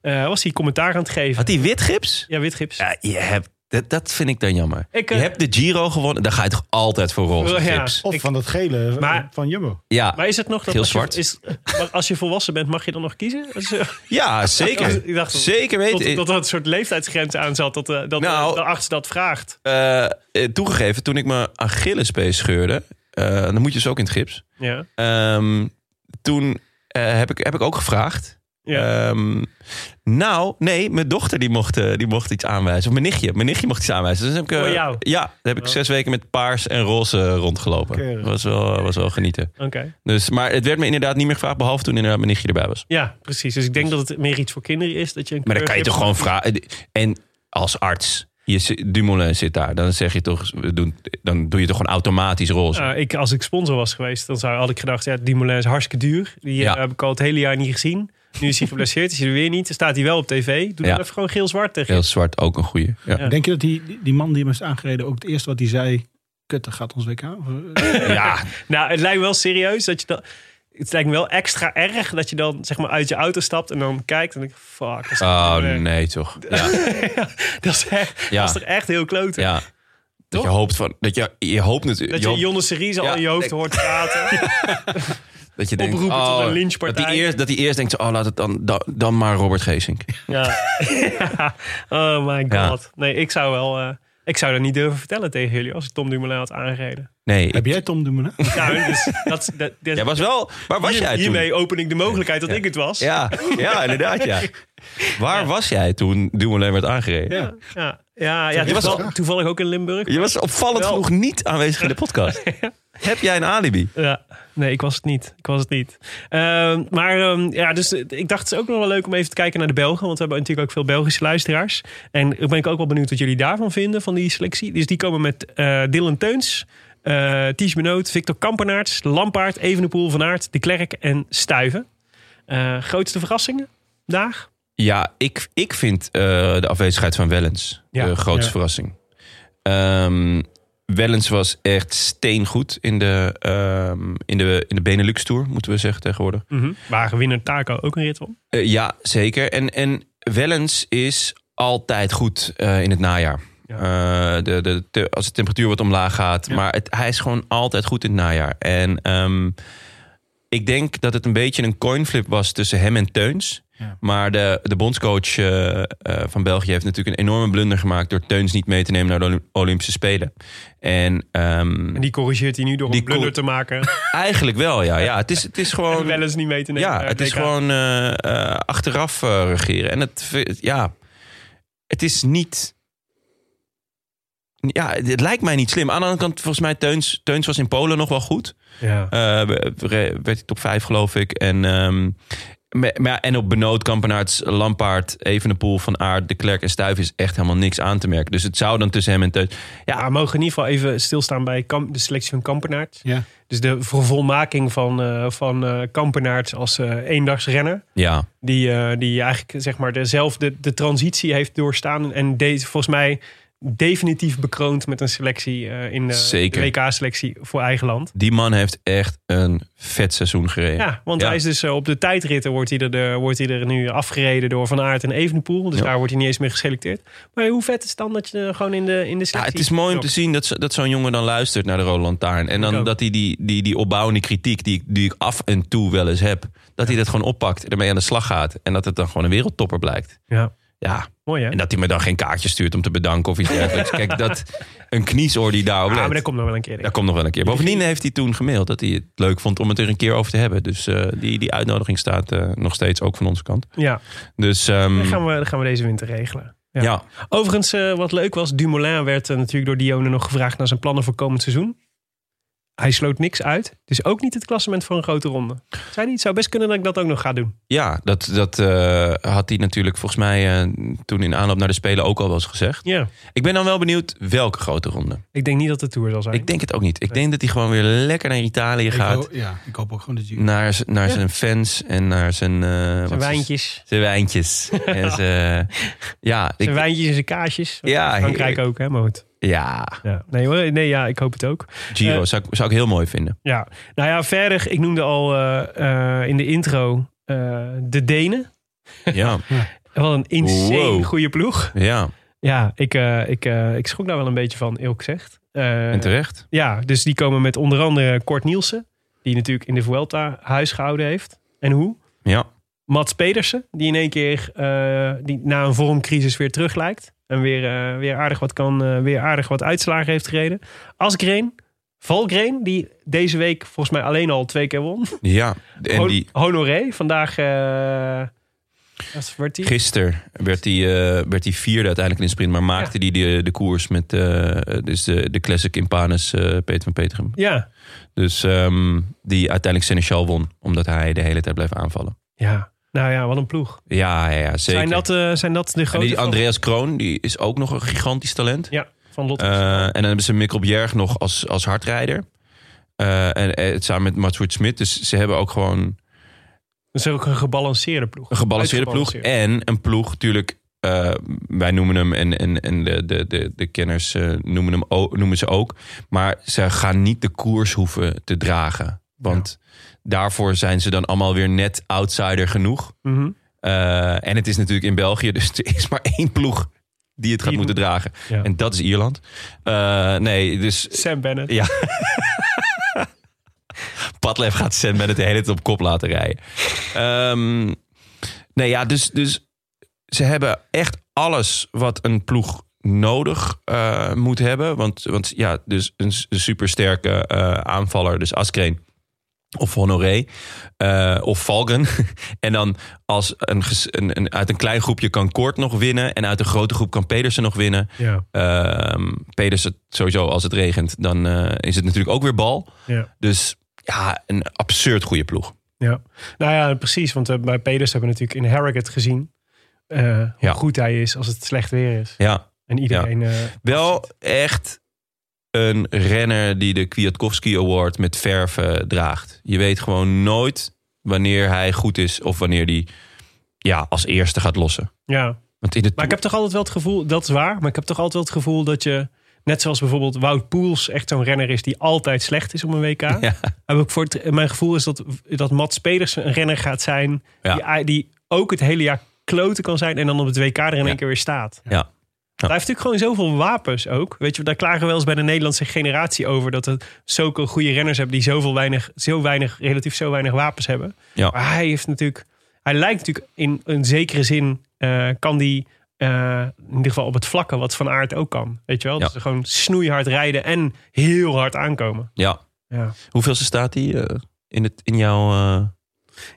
Eh, was hij commentaar aan het geven.
Had hij wit gips?
Ja, wit gips.
Ja, je hebt, dat, dat vind ik dan jammer.
Ik,
je
eh,
hebt de Giro gewonnen, daar ga je toch altijd voor roze
Ja.
gips?
Of
Ik-
van dat gele eh,
Maar-
van Jumbo.
Ja,
Maar is het nog dat
Geel
als,
zwart.
Je, is, maar als je volwassen bent, mag je dan nog kiezen? Dat is, eh,
ja
Ik *laughs*
zeker.
dacht-
zeker
Tot,
weten.
dat er een soort leeftijdsgrens aan zat dat, eh, dat
Nou.
eh, de arts dat vraagt.
Eh, eh, toegegeven, toen ik mijn Achillespees scheurde, eh, dan moet je dus ook in het gips.
Ja.
Ehm, toen eh, heb, ik, heb ik ook gevraagd.
Ja.
Ehm, nou, nee, mijn dochter die mocht, eh, die mocht iets aanwijzen. Of mijn nichtje. Mijn nichtje mocht iets aanwijzen. Dus dan heb ik, eh,
Voor jou?
Ja, dan heb ik zes weken met paars en roze rondgelopen.
Keurig.
Dat was wel, was wel genieten.
Oké.
Dus, maar het werd me inderdaad niet meer gevraagd, behalve toen inderdaad mijn nichtje erbij was.
Ja, precies. Dus ik denk dat het meer iets voor kinderen is. Dat je een
Maar dan kan je
kleurgips-
toch gewoon vragen. eh, En als arts, je, zit- Dumoulin zit daar, dan zeg je toch, we doen, dan doe je toch gewoon automatisch roze.
Nou, ik, als ik sponsor was geweest, dan zou, had ik gedacht... ja, die Moulin is hartstikke duur. Die eh,
Ja.
heb ik al het hele jaar niet gezien. Nu is hij geblesseerd, is hij er weer niet. Dan staat hij wel op tv. Doe
Ja.
dan even gewoon geel-zwart tegen.
Heel zwart ook een goeie. Ja.
Ja.
Denk je dat die, die man die hem heeft aangereden ook het eerste wat hij zei... Kut, dat gaat ons WK. Of, *laughs* eh,
Ja.
Nou, het lijkt me wel serieus dat je dan... Het lijkt me wel extra erg dat je dan zeg maar uit je auto stapt en dan kijkt en denk ik, fuck, dat is,
Oh
echt- *laughs*
nee, toch? Ja.
dat is, echt,
Ja.
dat is toch echt heel klote.
ja. Dat je hoopt van. Dat je, je hoopt natuurlijk.
Dat
je
je
hoopt-
Jonne Serize al
Ja,
in je hoofd
ik-
hoort praten.
dat je denkt.
oproepen tot
oh,
een lynchpartij.
Dat hij eerst, dat die eerst denkt: oh, laat het dan, dan, dan maar Robert Geesink.
Ja. oh my
Ja.
god. Nee, ik zou wel... eh, ik zou dat niet durven vertellen tegen jullie als ik Tom Dumoulin had aangereden.
Nee. ik-
heb jij Tom Dumoulin?
Nou, dus dat, dat, dat-
Jij was wel. Waar was
hier-
jij toen?
Hiermee open ik de mogelijkheid dat ik het was.
Ja, ja, inderdaad, ja. Waar was jij toen Dumoulin werd aangereden?
Ja.
ja, ja, ja,
Je was
toeval-
al-
toevallig ook in Limburg.
Je was opvallend
Wel.
genoeg niet aanwezig in de
*laughs*
podcast. Heb jij een alibi?
Ja, nee, ik was het niet. Ik was het niet. Ehm, maar ehm, ja, dus eh, ik dacht het is ook nog wel leuk om even te kijken naar de Belgen. Want we hebben natuurlijk ook veel Belgische luisteraars. En ik ben ik ook wel benieuwd wat jullie daarvan vinden, van die selectie. Dus die komen met eh, Dylan Teuns, eh Ties Benoot, Victor Kampenaerts, Lampaard, Evenepoel, Van Aert, De Klerk en Stuiven. Eh, grootste verrassingen vandaag?
Ja, ik, ik vind eh, de afwezigheid van Wellens
Ja,
de grootste
ja.
verrassing. Ehm, Wellens was echt steengoed in de, ehm, in de, in de Benelux-tour, moeten we zeggen tegenwoordig.
Waar winnaar Taco ook een rit om.
Eh, ja, zeker. En, en Wellens is altijd goed eh, in het najaar. Eh, de, de, te- als de temperatuur wat omlaag gaat. Maar het, hij is gewoon altijd goed in het najaar. En ehm, ik denk dat het een beetje een coinflip was tussen hem en Teuns. Maar de, de bondscoach eh, eh, van België heeft natuurlijk een enorme blunder gemaakt... door Teuns niet mee te nemen naar de Olymp- Olympische Spelen. En ehm,
En die corrigeert hij nu door
Die
een blunder
cor-
te
*laughs*
maken.
eigenlijk wel, ja. ja het, is, het is
en
gewoon...
wel eens niet mee te nemen.
Ja,
naar
het is
WK.
gewoon eh, eh, achteraf eh, regeren. En het, v- ja, het is niet. Ja, het het lijkt mij niet slim. Aan de andere kant, volgens mij, Teuns, Teuns was in Polen nog wel goed.
Ja.
Eh, we- we- werd hij top 5, geloof ik. En, ehm, me- maar ja, en op Benoot, Kampenaerts, Lampaard, Evenepoel, Van Aert, De Klerk en Stuif is echt helemaal niks aan te merken. Dus het zou dan tussen hem en Teuns...
Ja, we mogen in ieder geval even stilstaan bij Kam- de selectie van Kampenaert.
Ja.
Dus de vervolmaking van, eh van eh, Kampenaert als eh eendagsrenner.
Ja,
Die, eh, die eigenlijk zeg maar dezelfde de transitie heeft doorstaan. En deze volgens mij definitief bekroond met een selectie eh, in de,
Zeker.
WK-selectie voor eigen land.
die man heeft echt een vet seizoen gereden.
Ja, want
Ja.
hij is dus eh, op de tijdritten wordt hij, er, eh, wordt hij er nu afgereden door Van Aert en Evenepoel. Dus
Ja.
daar wordt hij niet eens meer geselecteerd. Maar hoe vet is het dan dat je eh, gewoon in de, in de
Ja,
selectie...
het is mooi om te
knokt?
zien dat, zo- dat zo'n jongen dan luistert naar de Roland Lantaarn. En
Ik
dan
ook.
dat hij die, die, die opbouwende kritiek die, ik- die ik af en toe wel eens heb... dat hij dat gewoon oppakt, ermee aan de slag gaat. En dat het dan gewoon een wereldtopper blijkt.
Ja,
Ja,
mooi hè?
en dat hij me dan geen kaartje stuurt om te bedanken of iets dergelijks. Kijk, dat een kniesoor die daarop let,
Ah, maar dat
dat,
komt nog wel een keer. denk ik.
komt nog wel een keer. Bovendien heeft hij toen gemaild dat hij het leuk vond om het er een keer over te hebben. Dus eh, die, die uitnodiging staat eh, nog steeds ook van onze kant.
Ja,
Dus ehm,
dat gaan, we, dat gaan we deze winter regelen. Ja.
ja,
Overigens, eh, wat leuk was, Dumoulin werd eh, natuurlijk door Dione nog gevraagd naar zijn plannen voor komend seizoen. Hij sloot niks uit. Dus ook niet het klassement voor een grote ronde. Zei hij, het zou best kunnen dat ik dat ook nog ga doen.
Ja, dat, dat eh, had hij natuurlijk volgens mij eh, toen in aanloop naar de Spelen ook al wel eens gezegd.
Ja.
Ik ben dan wel benieuwd welke grote ronde.
Ik denk niet dat de Tour zal zijn.
Ik denk het ook niet. Ik denk dat hij gewoon weer lekker naar Italië
Ik,
gaat.
hoop- ja, ik hoop ook gewoon dat je...
Naar, z- naar
Ja.
zijn fans en naar zijn... eh, wat
zijn
is-
wijntjes.
Zijn
*laughs*
wijntjes. en zijn, ja,
Zijn
ik-
wijntjes en zijn kaasjes.
Ja,
Frankrijk
heerlijk.
ook, hè, Moot?
ja,
Ja. Nee, hoor, nee, ja, ik hoop het ook.
Giro
Eh,
zou, ik, zou ik heel mooi vinden.
Ja, nou ja, verder, ik noemde al eh, eh, in de intro eh, de Denen.
Ja,
Wat een insane
Wow.
goede ploeg.
ja.
*laughs* Ja, ik, eh, ik, eh, ik schrok daar wel een beetje van, eerlijk gezegd. Eh,
en terecht.
ja, dus die komen met onder andere Kort Nielsen. Die natuurlijk in de Vuelta huisgehouden heeft. En hoe?
Ja,
Mats Pedersen, die in één keer eh, die na een vormcrisis weer terug lijkt. En weer, eh, weer, aardig wat kan, eh, weer aardig wat uitslagen heeft gereden. Asgreen, Valgreen, die deze week volgens mij alleen al twee keer won.
ja. En
Hon-
die,
Honoré, vandaag... eh wat wordt die?
Gisteren werd hij, eh, werd hij vierde uiteindelijk in de sprint. Maar maakte hij de, de koers met eh, dus de, de classic Impanus eh Peter van Petergem.
Ja,
Dus ehm, die uiteindelijk Seneschal won. Omdat hij de hele tijd bleef aanvallen.
ja. Nou ja, wat een ploeg.
Ja, ja, ja zeker.
Zijn dat, eh, zijn dat de
en
grote...
die Andreas Kroon die is ook nog een gigantisch talent.
Ja, van Lotte.
Eh, en dan hebben ze Mikkel Bjerg nog als, als hardrijder. Eh, en, eh, het samen met Matsuit Smit. Dus ze hebben ook gewoon
dat is ook een gebalanceerde ploeg.
Een gebalanceerde ploeg.
Uitgebalanceerd.
En een ploeg, natuurlijk. eh, wij noemen hem en, en, en de, de, de, de kenners eh, noemen, hem ook, noemen ze ook. Maar ze gaan niet de koers hoeven te dragen. Want daarvoor zijn ze dan allemaal weer net outsider genoeg.
Mhm.
Eh, en het is natuurlijk in België, *laughs* dus er is maar één ploeg die het gaat
Die
moeten dragen.
Ja.
En dat is Ierland. Eh, nee, dus
Sam Bennett.
ja. Padlef gaat Sam Bennett de hele tijd op kop laten rijden. Ehm, nee, ja, dus, dus ze hebben echt alles wat een ploeg nodig eh, moet hebben. Want, want ja, dus een, s- een supersterke eh, aanvaller, dus Askreen of Honoré eh, of Valken. *laughs* en dan als een, ges- een, een, uit een klein groepje kan Kort nog winnen... en uit een grote groep kan Pedersen nog winnen.
Ja.
Ehm Pedersen, sowieso als het regent, dan eh, is het natuurlijk ook weer bal.
Ja.
Dus ja, een absurd goede ploeg.
ja. Nou ja, precies. Want eh, bij Peders hebben we natuurlijk in Harrogate gezien. eh, hoe
Ja.
goed hij is als het slecht weer is.
Ja,
En iedereen... eh,
wel echt een renner die de Kwiatkowski Award met verve draagt. Je weet gewoon nooit wanneer hij goed is of wanneer hij ja, als eerste gaat lossen.
Ja.
Want in de
Maar ik heb toch altijd wel het gevoel, dat is waar, maar ik heb toch altijd wel het gevoel dat je, net zoals bijvoorbeeld Wout Poels, echt zo'n renner is die altijd slecht is op een WK.
*laughs* Ja.
Heb ik voor het, mijn gevoel is dat, dat Mats Peders een renner gaat zijn
Ja.
die, die ook het hele jaar kloten kan zijn en dan op het WK er in één
Ja.
keer weer staat.
Ja.
Hij heeft natuurlijk gewoon zoveel wapens ook. Weet je, daar klagen we wel eens bij de Nederlandse generatie over. Dat er zulke goede renners hebben die zoveel weinig, zo weinig, relatief zo weinig wapens hebben.
Ja.
Maar hij heeft natuurlijk, hij lijkt natuurlijk in een zekere zin, eh, kan die eh, in ieder geval op het vlakke wat van aard ook kan. Weet je wel?
Ja.
Dus gewoon snoeihard rijden en heel hard aankomen.
Ja.
Ja,
Hoeveelste staat die eh, in, het, in jouw... eh,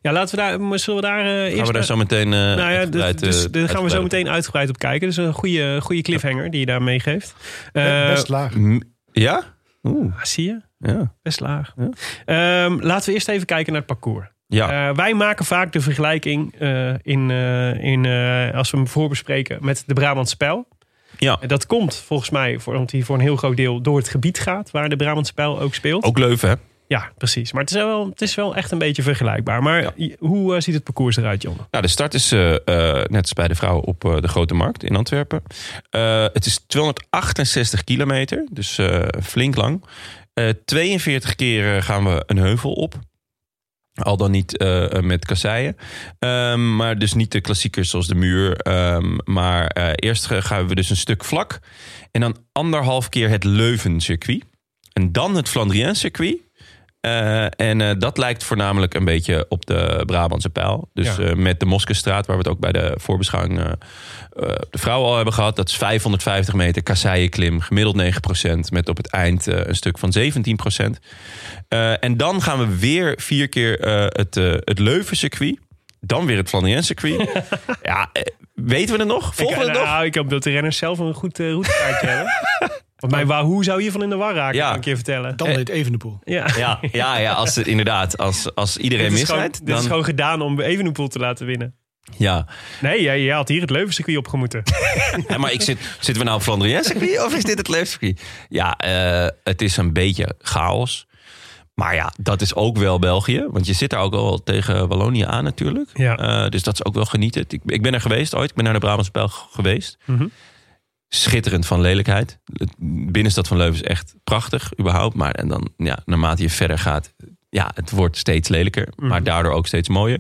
ja laten we daar, maar zullen we daar eh, eerst...
gaan we daar
naar-
zo meteen... eh,
Nou ja,
uitgebreid,
dit- dus,
eh,
daar gaan we zo
uitgebreid op
meteen uitgebreid op kijken. Dus een goede, goede cliffhanger die je daar meegeeft. Eh,
Best laag.
Mm, Ja? Oeh,
ah, zie je?
ja.
Best laag.
Ja.
Ehm, laten we eerst even kijken naar het parcours.
Ja,
Eh, wij maken vaak de vergelijking eh, in, eh, in, eh, als we hem voorbespreken met de Brabantse Pijl.
ja.
En Dat komt volgens mij, voor, omdat hij voor een heel groot deel door het gebied gaat waar de Brabantse Pijl ook speelt.
Ook Leuven, hè?
Ja, precies. Maar het is, wel, het is wel echt een beetje vergelijkbaar. Maar i- hoe eh, ziet het parcours eruit, John?
Nou, de start is eh, eh, net als bij de vrouwen op eh, de Grote Markt in Antwerpen. Eh, het is 268 kilometer, dus eh, flink lang. Eh, 42 keer eh, gaan we een heuvel op. Al dan niet eh, met kasseien. Ehm, maar dus niet de klassiekers zoals de muur. Ehm, maar eh, eerst eh, gaan we dus een stuk vlak. En dan anderhalf keer het Leuven-circuit. En dan het Flandrien-circuit. Eh, en eh, dat lijkt voornamelijk een beetje op de Brabantse pijl. Dus
Ja.
eh, met de Moskestraat, waar we het ook bij de voorbeschouwing eh, eh, de vrouwen al hebben gehad. Dat is 550 meter kasseienklim, gemiddeld 9%. Met op het eind eh, een stuk van 17%. Eh, en dan gaan we weer vier keer eh, het, eh, het Leuven-circuit. Dan weer het
*laughs*
Flandrien-circuit. ja, eh, weten we het nog? Volgen we
ik,
het nog?
nou, ik hoop dat de renners zelf een goed eh, routekaartje hebben.
*laughs*
Want mijn Wahoo zou hiervan in de war raken,
Ja.
kan ik je vertellen.
Dan deed Evenepoel.
*laughs* Ja.
Ja, ja, ja als, het- inderdaad. Als, als
Dit,
iedereen
is gewoon,
misrijdt,
dit
dan...
is gewoon gedaan om Evenepoel te laten winnen.
Ja.
Nee, jij, jij had hier het Leuvencircuit opgemoeten.
*laughs* Ja, maar ik zit, zitten we nou op Flandrien circuit of is dit het Leuven circuit? Ja, eh, het is een beetje chaos. Maar ja, dat is ook wel België. Want je zit daar ook al tegen Wallonië aan natuurlijk.
Ja.
Eh, dus dat is ook wel genieten. Ik, ik ben er geweest ooit. Ik ben naar de Brabantse Pijl g- geweest.
Mhm.
Schitterend van lelijkheid. Het binnenstad van Leuven is echt prachtig überhaupt. Maar en dan, ja, naarmate je verder gaat... Ja, het wordt steeds lelijker.
Mhm.
Maar daardoor ook steeds mooier.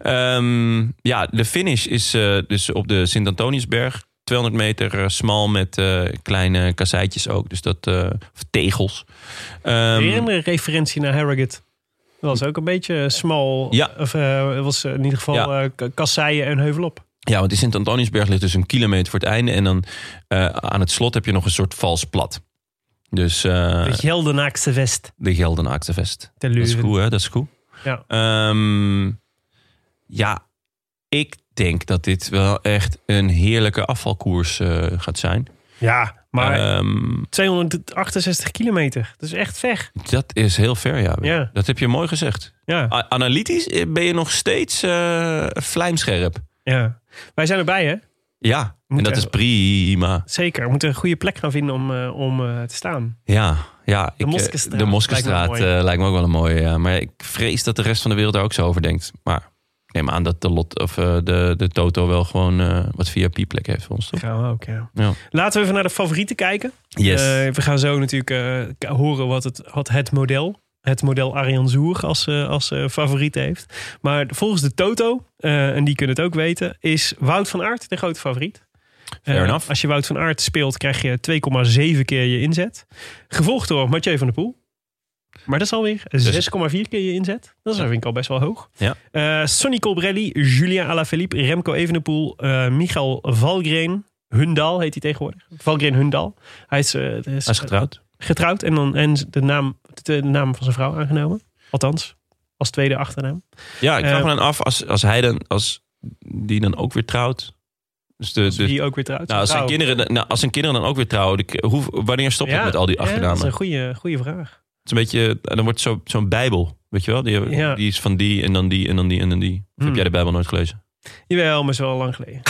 Ehm, ja, de finish is eh, dus op de Sint-Antoniusberg. 200 meter eh, smal met eh, kleine kasseitjes ook. Dus dat, eh, of tegels. Ehm,
Weer een referentie naar Harrogate. Dat was ook een beetje eh, smal.
Ja.
Of eh, was in ieder geval
Ja.
eh, k- kasseien en heuvelop.
Ja, want die Sint-Antoniusberg ligt dus een kilometer voor het einde. En dan eh, aan het slot heb je nog een soort vals plat. Dus eh,
De Geldenaakse vest.
de Gelden Actevest.
Te
Dat is
Leuven.
goed, hè? Dat is goed.
Ja.
Ehm, ja, ik denk dat dit wel echt een heerlijke afvalkoers eh, gaat zijn.
Ja, maar
Ehm,
268 kilometer. Dat is echt ver.
dat is heel ver, ja.
Ja.
Dat heb je mooi gezegd.
Ja.
A- analytisch eh, ben je nog steeds eh vlijmscherp.
ja. Wij zijn erbij, hè?
Ja, en dat
echt-
is prima.
Zeker. We moeten een goede plek gaan vinden om, eh, om eh, te staan.
Ja, ja ik, eh,
Moskestraat
de Moskestraat
lijkt
eh,
me
lijkt, me ook wel een mooie. ja. Maar ik vrees dat de rest van de wereld daar ook zo over denkt. Maar ik neem aan dat de, lot, of, eh, de, de Toto wel gewoon eh, wat VIP-plek heeft voor ons. Toch?
Gaan we ook, ja.
Ja.
Laten we even naar de favorieten kijken.
Yes.
Eh, we gaan zo natuurlijk eh, k- horen wat het, wat het model, het model Arjan Zoer als, eh, als eh, favoriet heeft. Maar volgens de Toto, eh, en die kunnen het ook weten, is Wout van Aert de grote favoriet.
Fair
Eh,
enough.
Als je Wout van Aert speelt, krijg je 2,7 keer je inzet. Gevolgd door Mathieu van der Poel. Maar dat is alweer 6,4 keer je inzet. Dat is, vind ik al best wel hoog.
Dus- Ja.
Eh, Sonny Colbrelli, Julien Alaphilippe, Remco Evenepoel, eh Michael Valgren. Hundal heet hij tegenwoordig. Valgren Hundal. Hij is, eh,
Hij is getrouwd.
getrouwd en, dan, en de, naam, de naam van zijn vrouw aangenomen. Althans, als tweede achternaam.
Ja, ik vraag
eh,
me dan af als, als hij dan, als die dan ook weer trouwt. Dus de, de-
die ook weer trouwt.
nou, als, zijn
Vrouw.
kinderen, dan- nou, als zijn kinderen dan ook weer trouwen, de- hoe, wanneer stopt het
Ja,
met al die
ja,
achternamen?
dat is een goede, goede vraag.
Het is een beetje, eh, dan wordt het zo, zo'n Bijbel, weet je wel? Die,
Ja.
die is van die en dan die en dan die en dan die. Of
Hmm.
heb jij de Bijbel nooit gelezen?
Jawel, maar is wel lang
*laughs*
geleden.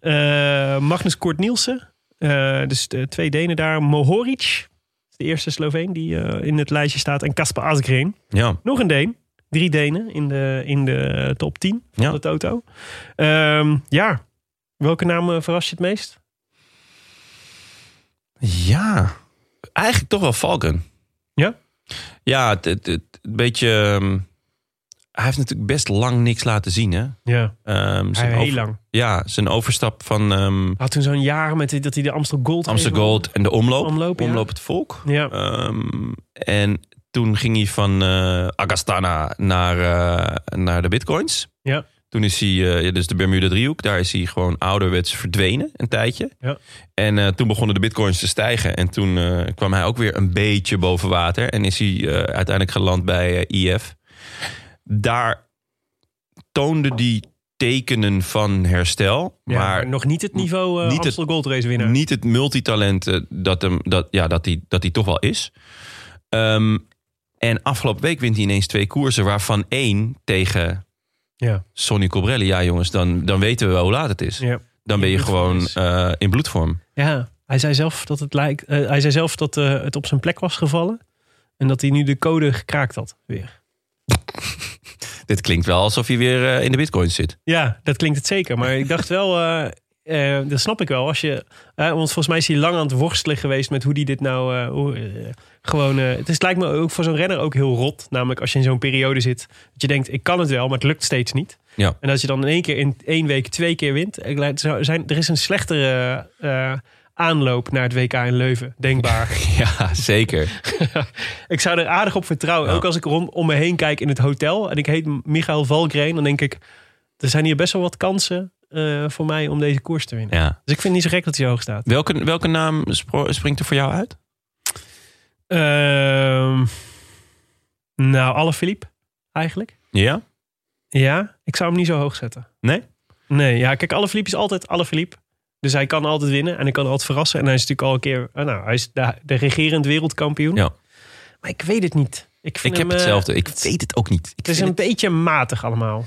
Eh, Magnus Kort Nielsen. Eh, dus de twee Denen daar. Mohoric. De eerste Sloveen die eh, in het lijstje staat. En Kasper Asgreen.
Ja,
Nog een Deen. Drie Denen in de, in de top 10 van
Ja.
de Toto. Ehm, ja, welke naam eh, verrast je het meest?
Ja, eigenlijk toch wel Falcon.
Ja?
Ja, het, het, het- een beetje... ehm, hij heeft natuurlijk best lang niks laten zien, hè?
Ja,
Ehm, zijn
heel
over-
lang.
Ja, zijn overstap van ehm
Had toen zo'n jaar met die- dat hij de Amstel Gold
Amsterdam
even-
Gold en de omloop.
Omloop, ja.
het volk.
Ja,
Ehm, en toen ging hij van eh, Agastana naar, eh, naar de bitcoins.
Ja.
Toen is hij, eh, ja, dus de Bermuda driehoek, daar is hij gewoon ouderwets verdwenen een tijdje.
Ja.
En eh, toen begonnen de bitcoins te stijgen. En toen eh, kwam hij ook weer een beetje boven water. En is hij eh, uiteindelijk geland bij eh, IF. Daar toonde hij tekenen van herstel.
ja, maar,
maar
nog niet het niveau eh,
niet het-
Amstel Gold Race winnaar.
niet het multitalent eh, dat hem, dat, ja, dat hij dat hij toch wel is. Ehm, en afgelopen week wint hij ineens twee koersen, waarvan één tegen
Ja.
Sonny Cobrelli. Ja, jongens, dan, dan weten we wel hoe laat het is.
Ja.
Dan ben je
In bloedvorm
gewoon
is.
eh, in bloedvorm.
ja, hij zei zelf dat, het, lijkt, eh, hij zei zelf dat eh, het op zijn plek was gevallen. En dat hij nu de code gekraakt had weer.
Dit klinkt wel alsof je weer eh, in de bitcoin zit.
Ja, dat klinkt het zeker. Maar ik dacht wel, eh, eh, dat snap ik wel. Als je, eh, want volgens mij is hij lang aan het worstelen geweest met hoe hij dit nou... eh, hoe, eh, gewoon, eh, het is, lijkt me ook voor zo'n renner ook heel rot. Namelijk als je in zo'n periode zit. Dat je denkt, ik kan het wel, maar het lukt steeds niet.
Ja. *laughs*
En als je dan in één keer in één week twee keer wint. ik lijkt- zou zijn, er is een slechtere eh, aanloop naar het WK in Leuven, denkbaar.
Ja, zeker.
ik zou er aardig op vertrouwen.
Ja.
Ook als ik om, om me heen kijk in het hotel en ik heet Michael Valkreen. Dan denk ik, er zijn hier best wel wat kansen eh, voor mij om deze koers te winnen.
Ja.
Dus ik vind het niet zo gek dat hij zo hoog staat.
Welke, welke naam spro- springt er voor jou uit?
Ehm, nou, alle Philippe eigenlijk.
Ja?
Ja, ik zou hem niet zo hoog zetten.
Nee?
Nee, ja, kijk, alle Philippe is altijd alle Philippe. Dus hij kan altijd winnen en hij kan altijd verrassen. En hij is natuurlijk al een keer, eh, nou, hij is de, de regerend wereldkampioen.
Ja.
Maar ik weet het niet. Ik, vind
Ik heb
hem, eh,
hetzelfde. Ik
het-
weet het ook niet. Ik
Het is een
vind het-
beetje matig allemaal.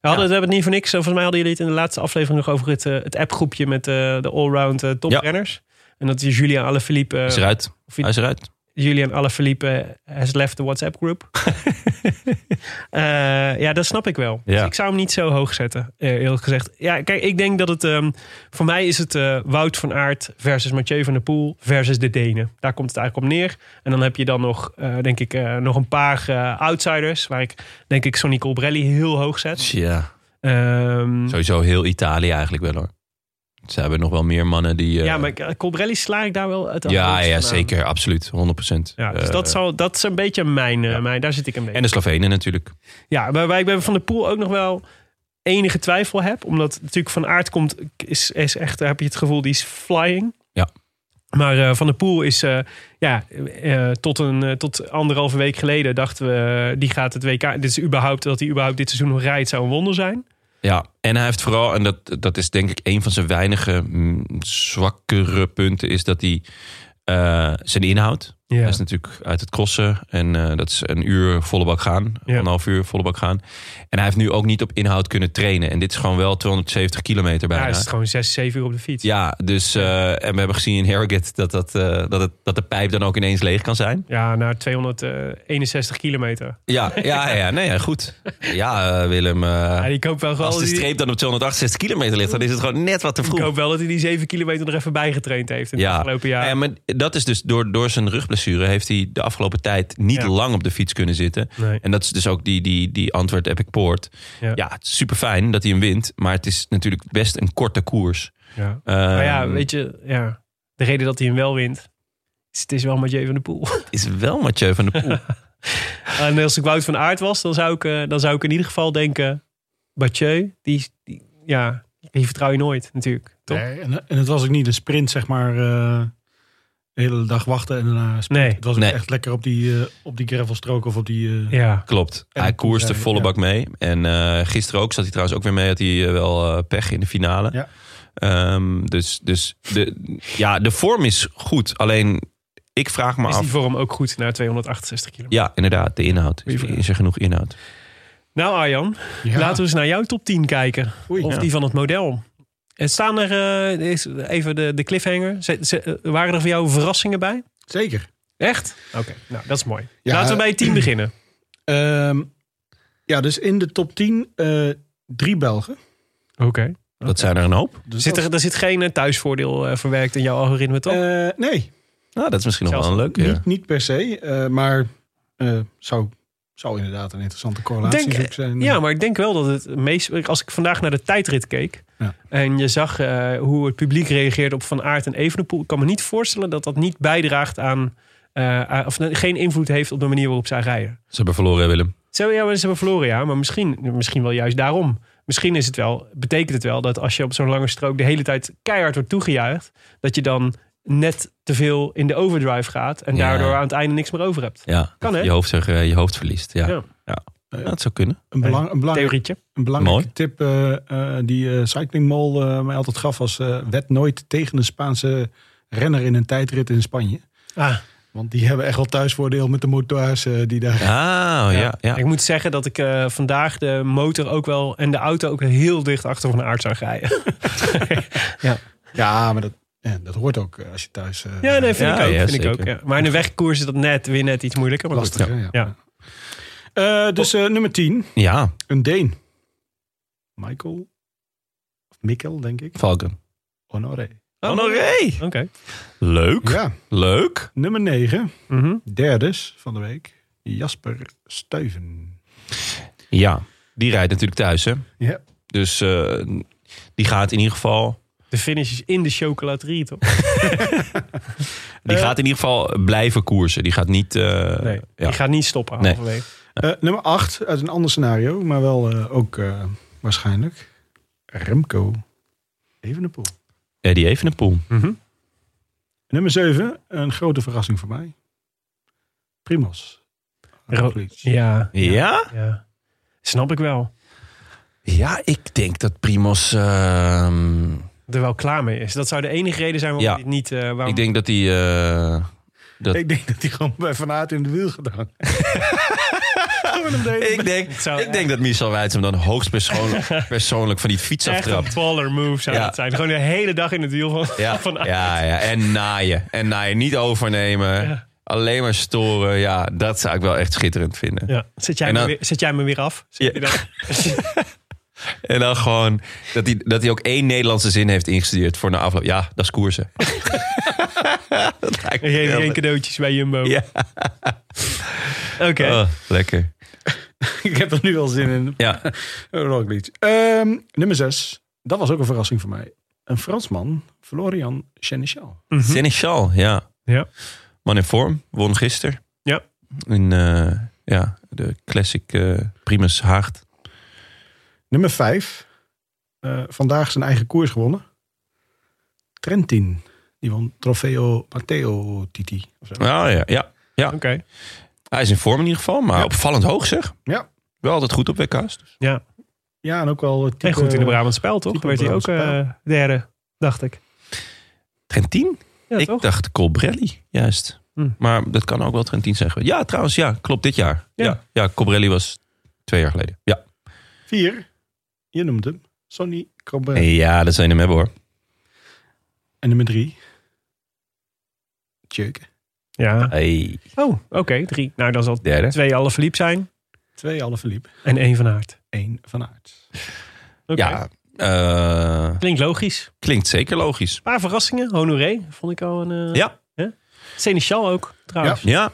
We hadden,
Ja.
we hebben het niet voor niks. eh, Volgens mij hadden jullie het in de laatste aflevering nog over het, eh, het appgroepje met eh, de allround eh, toprenners. En dat is Julian Alaphilippe. eh,
Hij is eruit.
of-
Hij is eruit.
Julian Alaphilippe has left the WhatsApp
*laughs*
groep. ja, dat snap ik wel. Dus
Ja.
ik zou hem niet zo hoog zetten, eh, eerlijk gezegd. Ja, kijk, ik denk dat het... ehm, voor mij is het eh, Wout van Aert versus Mathieu van der Poel versus de Denen. Daar komt het eigenlijk op neer. En dan heb je dan nog, eh, denk ik, eh, nog een paar eh, outsiders... waar ik, denk ik, Sonny Colbrelli heel hoog zet.
Ja.
Ehm,
Sowieso heel Italië eigenlijk wel hoor. Ze hebben nog wel meer mannen die... eh,
ja, maar eh, Colbrelli sla ik daar wel uit de
Ja,
hoogste
ja
aan.
zeker. Absoluut. 100%.
ehm, Ja, dus
Eh,
dat, zal, dat is een beetje mijn, eh,
Ja.
mijn... Daar zit ik een beetje.
En de Slovenen natuurlijk.
Ja, waarbij ik bij Van der Poel ook nog wel enige twijfel heb. Omdat natuurlijk Van Aert komt, is, is echt, heb je het gevoel, die is flying.
Ja.
Maar eh, Van der Poel is, eh, ja, eh, tot, een, eh, tot anderhalve week geleden dachten we, eh, die gaat het WK. Dit is überhaupt, dat hij überhaupt dit seizoen nog rijdt, zou een wonder zijn.
Ja, en hij heeft vooral, en dat, dat is denk ik een van zijn weinige mm, zwakkere punten, is dat hij eh, zijn inhoud.
Ja,
Hij is natuurlijk uit het crossen en eh, dat is een uur volle bak gaan,
Ja.
anderhalf uur volle bak gaan. En hij heeft nu ook niet op inhoud kunnen trainen. En dit is gewoon wel 270 kilometer
ja, hij
bijna.
is gewoon zes, zeven uur op de fiets.
Ja, dus eh, en we hebben gezien in Harrogate dat, dat, eh, dat, het, dat de pijp dan ook ineens leeg kan zijn.
Ja, naar 261 kilometer.
Ja, ja, ja, nee, ja, goed. Ja, eh, Willem. eh,
Ja, ik hoop wel gewoon
als de
dat hij-
streep dan op 268 kilometer ligt, dan is het gewoon net wat te
ik
vroeg.
hoop wel dat hij die 7 kilometer er even bij getraind heeft in het
Ja.
afgelopen jaar.
Ja, maar dat is dus door, door zijn rugblessure heeft hij de afgelopen tijd niet
Ja.
lang op de fiets kunnen zitten.
Nee.
En dat is dus ook die, die, die Antwerp Epic Poort.
Ja.
Ja, super fijn dat hij hem wint, maar het is natuurlijk best een korte koers.
Ja.
Ehm,
Maar ja, weet je, ja, de reden dat hij hem wel wint, is het is wel Mathieu van der Poel. *laughs*
Is wel Mathieu van der Poel.
en als ik Wout van Aert was, dan zou ik, eh, dan zou ik in ieder geval denken, Mathieu, die, die, ja, die vertrouw je nooit natuurlijk, toch?
Nee, en, en het was ook niet een sprint, zeg maar. eh, de hele dag wachten en daarna sprint.
Nee.
Het was ook
Nee.
echt lekker op die, eh, op die gravelstrook of op die... eh,
Ja,
Klopt.
En
Hij
een koers
koerste
rijden,
volle
ja.
bak mee. En eh, gisteren ook zat hij trouwens ook weer mee. Had hij eh, wel eh, pech in de finale.
Ja.
Ehm, dus dus de, ja, de vorm is goed. Alleen ik vraag me
is die
af.
vorm ook goed naar 268 kilometer?
Ja, inderdaad, de inhoud. Is,
Goeie vraag.
is er genoeg inhoud?
Nou Arjan,
ja.
laten we eens naar jouw top 10 kijken.
Oei.
Of
Ja.
die van het model. En staan er, eh, is- even de, de cliffhanger, Ze- ze- waren er voor jou verrassingen bij?
Zeker.
Echt? Oké, nou dat is mooi.
Ja,
Laten we bij het team beginnen.
Ehm, Ja, dus in de top 10 eh, drie Belgen.
Oké.
Dat zijn er een hoop.
Dus
Zit er, er zit geen eh, thuisvoordeel eh, verwerkt in jouw algoritme, toch?
eh, nee,
Nou, dat is misschien nog wel een
Zelfs
leuke. ja.
niet, niet per se. eh, maar eh, zou, zou inderdaad een interessante correlatie
Denk-
zoek zijn.
Ja, maar ik denk wel dat het meest... Als ik vandaag naar de tijdrit keek...
Ja.
en je zag eh, hoe het publiek reageert op Van Aert en Evenepoel... ik kan me niet voorstellen dat dat niet bijdraagt aan... eh, aan- of geen invloed heeft op de manier waarop zij rijden.
Ze hebben verloren, hè, Willem.
Zo, ja, maar ze hebben verloren, ja. Maar misschien, misschien wel juist daarom. Misschien is het wel, betekent het wel dat als je op zo'n lange strook... de hele tijd keihard wordt toegejuicht... dat je dan net te veel in de overdrive gaat... en
Ja.
daardoor aan het einde niks meer over hebt.
Ja,
Kan, hè?
je hoofd, zeg, eh, je hoofd verliest. Ja.
Ja.
Ja. Ja, dat zou kunnen.
een, belang, een, belang,
Theorietje.
een belangrijke
Mooi.
tip eh, eh, die eh, Cycling Mall eh, mij altijd gaf was... eh wed nooit tegen een Spaanse renner in een tijdrit in Spanje.
Ah,
Want die hebben echt wel thuisvoordeel met de motards eh, die daar...
Ah, ja. ja.
Ik moet zeggen dat ik eh, vandaag de motor ook wel en de auto ook heel dicht achter van de aard zag rijden. *laughs*
Ja, maar dat, ja, dat hoort ook eh, als je thuis... eh,
Ja, nee, vind
Ja,
ik ook.
ja,
vind ik ook
zeker.
ja. Maar in de wegkoers is dat net weer net iets moeilijker. Maar
lastig.
goed.
hè, ja.
Ja.
Eh, dus eh, nummer 10,
Ja,
een Deen. Michael, of Mikkel denk ik.
Valken.
Honoré.
Oh,
Mhm.
Honoré!
Oh. Oké.
Leuk,
Ja,
leuk.
nummer 9,
Mhm.
derdes van de week. Jasper Stuyven.
Ja, die rijdt natuurlijk thuis, hè.
Ja.
Dus eh, die gaat in ieder geval...
De finish is in de chocolaterie, toch?
Die
Eh.
gaat in ieder geval blijven koersen. Die gaat niet... eh,
Nee,
ja.
ik ga niet stoppen
Nee.
halverwege.
Eh, nummer 8, uit een ander scenario, maar wel eh, ook eh, waarschijnlijk. Remco Evenepoel.
Eddie Evenepoel.
Mhm.
Nummer 7, een grote verrassing voor mij. Primos.
Ro-
Roglic. *laughs*
Ja,
Ja?
ja. Snap ik wel.
Ja, ik denk dat Primos... ehm,
Er wel klaar mee is. Dat zou de enige reden zijn waarom
Ja.
dit niet... eh, waarom... *laughs*
ik denk dat hij... eh, dat...
Ik denk dat hij gewoon bij Van Aert in de wiel gedaan.
*laughs*
Ik denk,
Het zou-
ik denk dat Michel Weitz hem dan hoogst
*laughs*
persoonlijk, persoonlijk van die fiets
Echt
aftrapt.
een baller move zou
Ja.
dat zijn. Gewoon de hele dag in het wiel van,
Ja,
*laughs* van Aert.
ja, ja, en naaien. En naaien, niet overnemen.
Ja.
Alleen maar storen. Ja, dat zou ik wel echt schitterend vinden.
Ja. Zet, jij
En
me
dan-
weer, zet jij me weer af? Zit
Ja.
je
*laughs*
dan-
En dan gewoon dat hij, dat hij ook één Nederlandse zin heeft ingestudeerd voor na afloop. Ja, dat is koersen. dat lijkt me
En geen,
wel-
geen cadeautjes bij Jumbo.
Ja.
Oké.
Oh, *laughs* lekker.
ik heb er nu wel zin in.
Ja.
Mhm.
Roglic. Ehm, nummer 6, dat was ook een verrassing voor mij. Een Fransman, Florian Chenichal.
Mhm.
Seneschal, ja.
Ja.
Man in vorm, won gisteren.
Ja.
In eh, ja, de classic eh, Primus Haagd.
Nummer 5, vandaag zijn eigen koers gewonnen. Trentin, die won Trofeo Matteo Titi. of zo.
Nou ja, ja.
Oké.
Hij is in vorm in ieder geval, maar
Ja.
opvallend hoog zeg.
Ja.
Wel altijd goed op WK's. dus.
Ja.
Ja, en ook wel
En goed
eh,
in de Brabant Spel, toch?
type
Werd hij ook
Brabantspel.
eh, derde, dacht ik.
Trentin?
Ja,
ik
toch?
dacht Colbrelli, juist.
Hm.
Maar dat kan ook wel Trentin zijn geweest. Ja, trouwens, ja, klopt dit jaar.
Ja.
Ja, ja, Colbrelli was twee jaar geleden. Ja,
4, je noemt hem, Sonny Cobra.
ja dat zijn hem hebben hoor.
En nummer 3, Tjeuke.
Ja.
Hey.
Oh, oké. Drie. Nou, dan zal
Derde.
twee alle verliep zijn
Twee alle verliep,
en één van Aert.
één van Aert.
Oké.
Ja, eh,
Klinkt logisch.
klinkt zeker logisch.
Een paar verrassingen. Honoré vond ik al een... eh
Ja.
hè? Seneschal ook, trouwens. Ja.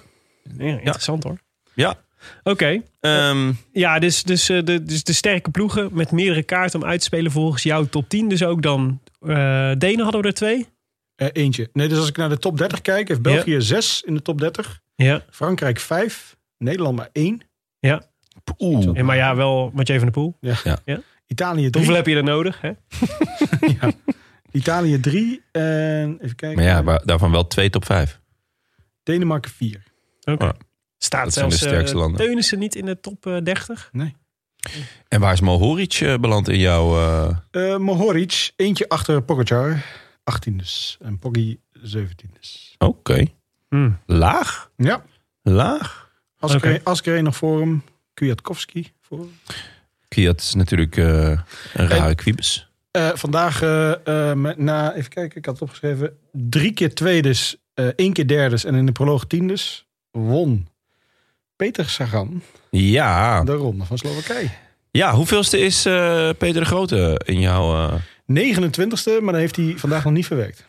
Ja,
interessant hoor.
ja.
Oké.
Ehm,
Ja, dus, dus, eh, de, dus de sterke ploegen met meerdere kaarten om uit te spelen volgens jouw top 10. Dus ook dan eh, Denen hadden we er twee.
Eh, eentje. Nee, dus als ik naar de top 30 kijk, heeft België 6 in de top 30.
Ja.
Frankrijk 5, Nederland maar 1,
Oeh.
En maar ja, wel Mathieu van der Poel.
Italië 3.
Hoeveel heb je er nodig? Hè?
*laughs* Italië 3 en even kijken.
Maar ja, maar daarvan wel twee top vijf.
Denemarken 4.
Staat
Dat zijn
zelfs
de sterkste
eh,
landen.
Teunissen niet in de top eh, 30?
En waar is Mohoric eh, beland in jouw... eh,
Eh Mohoric, eentje achter Pogacar, 18 dus. En Poggi 17 dus.
Oké. Hmm. Laag?
Ja,
Laag?
als
Oké.
ik Asker nog voor hem, Kwiatkowski voor hem.
Kwiat is natuurlijk eh, een rare kwiebes.
Eh, vandaag, eh, eh, met- na, even kijken, ik had het opgeschreven. Drie keer tweedes, eh één keer derdes en in de proloog tiendes. Won Peter Sagan
Ja.
de ronde van Slowakije.
ja, hoeveelste is eh, Peter de Grote in jouw... eh,
29ste, maar dat heeft hij vandaag nog niet verwerkt.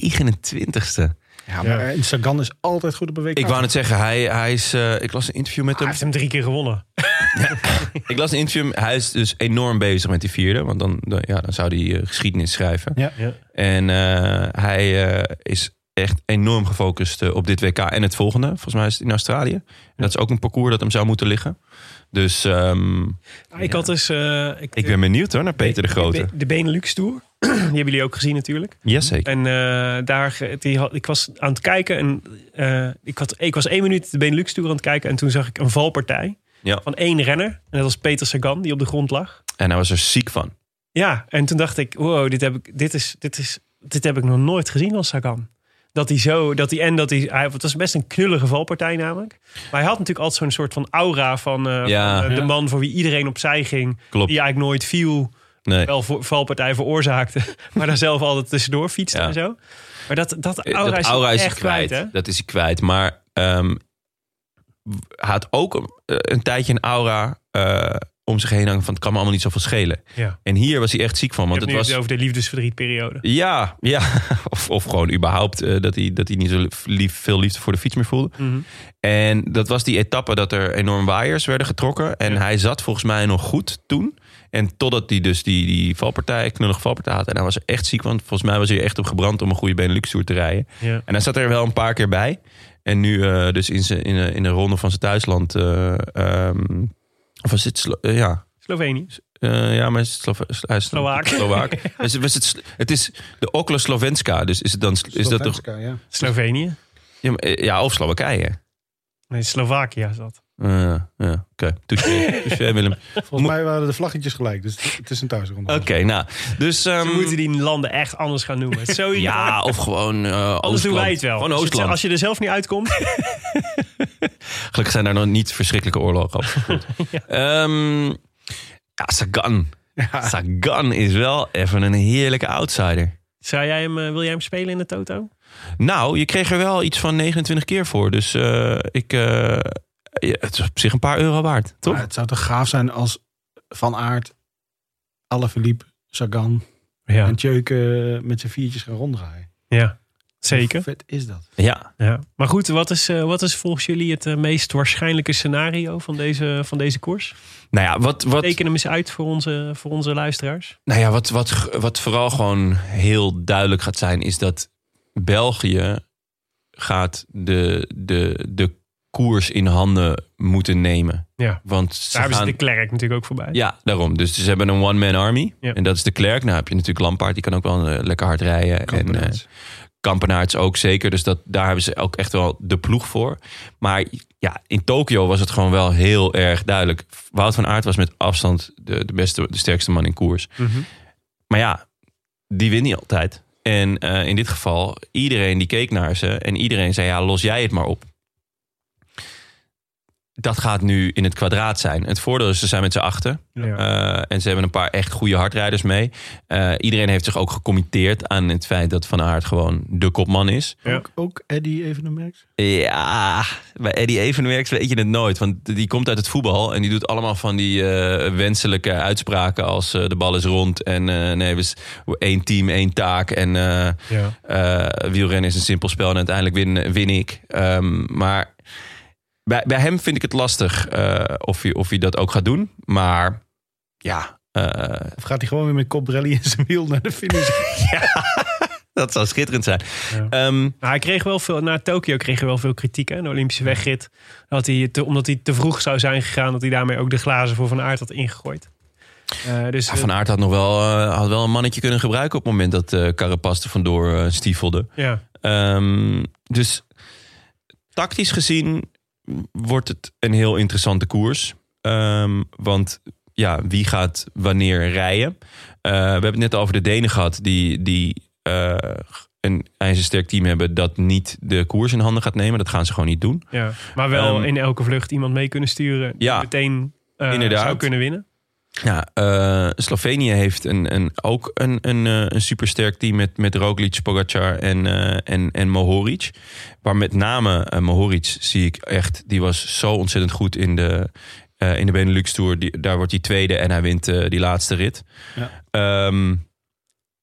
29ste.
Ja.
Ja, maar eh, Sagan is altijd goed op een week.
Ik
na.
wou net zeggen, hij, hij is, eh, ik las een interview met
Hij
hem.
heeft hem drie keer gewonnen.
Ik las een interview, hij is dus enorm bezig met die vierde. Want dan, dan- ja, dan zou hij eh, geschiedenis schrijven.
Ja.
Ja.
En eh, hij eh, is echt enorm gefocust eh, op dit WK en het volgende. Volgens mij is het in Australië. En dat is ook een parcours dat hem zou moeten liggen. Dus ehm,
Ik had dus... eh,
ik ben benieuwd hoor, naar Peter de Grote.
De Benelux Tour. *clears throat* Die hebben jullie ook gezien natuurlijk.
Yes, zeker.
En eh, daar, eh, die had, ik was aan het kijken en eh, ik, had, ik was één minuut de Benelux Tour aan het kijken. En toen zag ik een valpartij
Ja.
van één renner. En dat was Peter Sagan, die op de grond lag.
En hij was er ziek van.
Ja, en toen dacht ik, wow, dit heb ik, dit is, dit is, dit heb ik nog nooit gezien van Sagan. Dat hij zo, dat hij en dat hij, hij, het was best een knullige valpartij namelijk. Maar hij had natuurlijk altijd zo'n soort van aura van, eh,
Ja.
van, eh, de
Ja.
man voor wie iedereen opzij ging.
Klopt.
Die eigenlijk nooit viel,
Nee.
wel voor, valpartij veroorzaakte. *laughs* Maar daar zelf altijd tussendoor fietste
Ja.
en zo. Maar dat, dat
Eh,
aura
dat
is,
aura is hij
echt kwijt,
kwijt. dat is hij kwijt. Maar ehm hij had ook een, eh, een tijdje een aura eh, om zich heen hangen van het kan me allemaal niet zoveel schelen.
hè? Ja.
En hier was hij echt ziek van.
Want
Want het
het nu
was,
het over de liefdesverdrietperiode.
Ja, ja. *laughs* Of, of gewoon überhaupt eh, dat, hij, dat hij niet zo lief- lief, veel liefde voor de fiets meer voelde.
Mhm.
En dat was die etappe dat er enorm waaiers werden getrokken. En hij zat volgens mij nog goed toen. En totdat hij dus die, die valpartij, knullige valpartij had. En hij was er echt ziek, want volgens mij was hij echt op gebrand om een goede Benelux Tour te rijden.
Ja.
En hij zat er wel een paar keer bij. En nu eh, dus in, zijn, in, eh, in de ronde van zijn thuisland. eh, ehm, of was dit... Slo- eh, ja,
Slovenië.
eh, ja, maar hij is Slova- hij is
Slowaak. *laughs*
Slovaak. Dus het was het, sl- het is de Okla Slovenska. Dus is het dan is dat toch?
Slovenska, ja.
Slovenië.
Ja, maar, eh, ja of Slowakije.
Nee, Slovakia is dat.
Eh, ja, oké.
*laughs*
Touché, touché, Willem.
Volgens mij waren de vlaggetjes gelijk, dus het is een thuisronde.
Oké, nou. Dus ehm,
We moeten die landen echt anders gaan noemen. Het is Zo
ja, of gewoon eh
Anders
Oostland.
doen wij het wel.
Gewoon
Als je-
Oostland.
Als je er zelf niet uitkomt. *laughs*
Gelukkig zijn daar nog niet verschrikkelijke oorlogen
*laughs*
afgevoerd. ja. ja, Sagan. Sagan is wel even een heerlijke outsider.
Zou jij hem, eh, wil jij hem spelen in de Toto?
Nou, je kreeg er wel iets van 29 keer voor. Dus eh, ik, eh, ja, het is op zich een paar euro waard, toch?
Maar het zou toch gaaf zijn als Van Aert, Alaphilippe, Sagan
Ja,
en Tjeuken eh, met z'n viertjes gaan ronddraaien.
ja. zeker.
Hoe vet is dat?
Ja.
Ja. Maar goed, wat is, eh, wat is volgens jullie het eh, meest waarschijnlijke scenario van deze, van deze koers?
Nou ja, wat, wat,
Teken hem eens uit voor onze, voor onze luisteraars.
nou ja wat, wat, g- wat vooral gewoon heel duidelijk gaat zijn... is dat België gaat de, de, de koers in handen moeten nemen.
Ja.
Want ze
Daar hebben ze
gaan-
de klerk natuurlijk ook voorbij.
Ja, daarom. Dus ze hebben een one-man army.
Ja.
En dat is de Klerk. Nou heb je natuurlijk Lampaard, die kan ook wel eh, lekker hard rijden. En, eh,
Kampenaerts.
Kampenaerts ook zeker. Dus dat, daar hebben ze ook echt wel de ploeg voor. Maar ja, in Tokio was het gewoon wel heel erg duidelijk. Wout van Aert was met afstand de, de beste, de sterkste man in koers. Maar ja, die wint niet altijd. En eh, in dit geval, iedereen die keek naar ze en iedereen zei: ja, los jij het maar op. Dat gaat nu in het kwadraat zijn. Het voordeel is, ze zijn met z'n achten.
Ja.
Eh, en ze hebben een paar echt goede hardrijders mee. Eh, iedereen heeft zich ook gecommitteerd aan het feit dat Van Aert gewoon de kopman is.
Ja.
Ook, ook Eddy Evenemerks.
Ja, bij Eddie Evenwerks weet je het nooit. Want die komt uit het voetbal en die doet allemaal van die eh, wenselijke uitspraken als eh, de bal is rond en eh, nee, we s- één team, één taak en eh,
Ja.
*laughs*
eh, wielrennen is een simpel spel en uiteindelijk win, win ik. Ehm, maar bij, bij hem vind ik het lastig eh, of, hij, of hij dat ook gaat doen. Maar ja, eh,
Of gaat hij gewoon weer met koprally in zijn wiel naar de finish?
dat zou schitterend zijn.
Ja.
Ehm,
*laughs* Nou, hij kreeg wel veel, na Tokio kreeg hij wel veel kritiek, hè, de Olympische wegrit. Dat hij te, omdat hij te vroeg zou zijn gegaan, dat hij daarmee ook de glazen voor Van Aert had ingegooid. Eh, dus
Ja, Van Aert had nog wel, eh, had wel een mannetje kunnen gebruiken op het moment dat eh Carapaz er vandoor eh, stiefelde.
eh, ja.
Ehm, dus tactisch gezien wordt het een heel interessante koers. Ehm, want ja, wie gaat wanneer rijden? Eh, we hebben het net over de Denen gehad die, die eh, een ijzersterk team hebben dat niet de koers in handen gaat nemen. Dat gaan ze gewoon niet doen.
Ja, maar wel
Ehm,
in elke vlucht iemand mee kunnen sturen. Die
Ja,
meteen eh,
inderdaad.
zou kunnen winnen.
Ja, eh, Slovenië heeft een, een, ook een, een, eh, een supersterk team met, met Roglic, Pogacar en, eh, en, en Mohoric. Maar met name eh, Mohoric zie ik echt, die was zo ontzettend goed in de, eh, in de Benelux Tour. Die, daar wordt hij tweede en hij wint eh, die laatste rit. Ehm,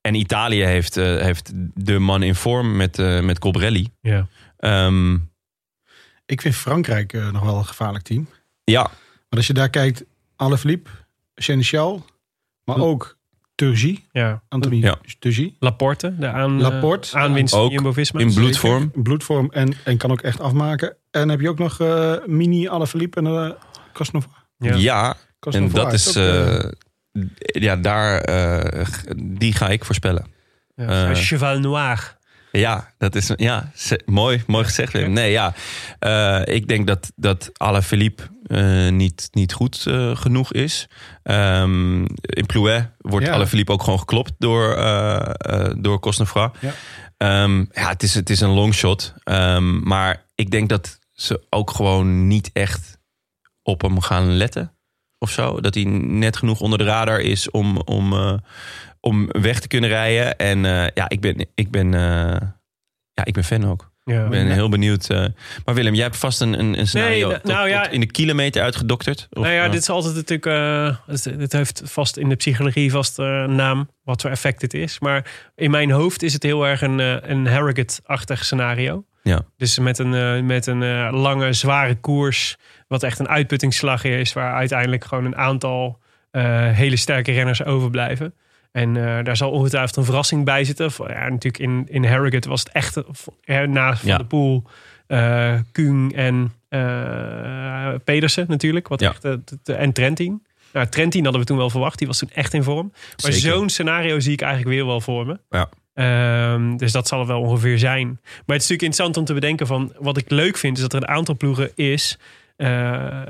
en Italië heeft, eh, heeft de man in vorm met, eh, met Colbrelli.
Ja.
Ehm,
Ik vind Frankrijk eh, nog wel een gevaarlijk team.
ja,
Maar als je daar kijkt, Alaphilippe, Senechal, maar ook Turgie,
ja.
Anthony
Ja.
Turgie.
Laporte, de aan,
Laporte.
eh, aanwinst van
Ook
Jumbo-Visma.
in bloedvorm.
In bloedvorm en, en kan ook echt afmaken. En dan heb je ook nog eh, mini Alaphilippe en eh Cosnova.
Ja.
ja, En
Cosnova
dat is.
ook, eh,
eh, d- ja, daar. eh, g- die ga ik voorspellen.
Ja.
eh,
Cheval Noir.
Ja, dat is. Ja, ze- mooi, mooi gezegd, Wim. Nee, ja. eh, ik denk dat, dat Alaphilippe eh niet, niet goed eh, genoeg is. Ehm, in Plouet wordt
Ja.
Alaphilippe ook gewoon geklopt door, eh eh door Cosnefra.
Ja.
Ehm, ja, het is, het is een longshot. Ehm maar ik denk dat ze ook gewoon niet echt op hem gaan letten. Of zo. Dat hij net genoeg onder de radar is om, om, eh, om weg te kunnen rijden. En eh, ja, ik ben, ik, ben, eh, ja, ik ben fan ook.
Ja.
Ik ben heel benieuwd. eh. maar Willem, jij hebt vast een, een, een scenario
nou
tot- tot
ja.
in de kilometer uitgedokterd. Of,
nou ja,
eh,
dit is altijd natuurlijk. eh, het- dit heeft vast in de psychologie vast eh, een naam. Wat voor effect dit is. Maar in mijn hoofd is het heel erg een, eh, een Harrogate-achtig scenario.
Ja.
Dus met een, eh, met een eh, lange, zware koers. Wat echt een uitputtingsslag is. Waar uiteindelijk gewoon een aantal eh, hele sterke renners overblijven. En eh, daar zal ongetwijfeld een verrassing bij zitten. Voor- Ja, natuurlijk in, in Harrogate was het echt eh, na Van
Ja.
de Poel, eh Kung en eh, Pedersen natuurlijk. Wat
Ja.
echt, eh, t- t- en Trentin. Nou, Trentin hadden we toen wel verwacht. Die was toen echt in vorm. Maar
Zeker.
zo'n scenario zie ik eigenlijk weer wel voor me.
Ja.
Ehm, dus dat zal het wel ongeveer zijn. Maar het is natuurlijk interessant om te bedenken van... wat ik leuk vind is dat er een aantal ploegen is... eh,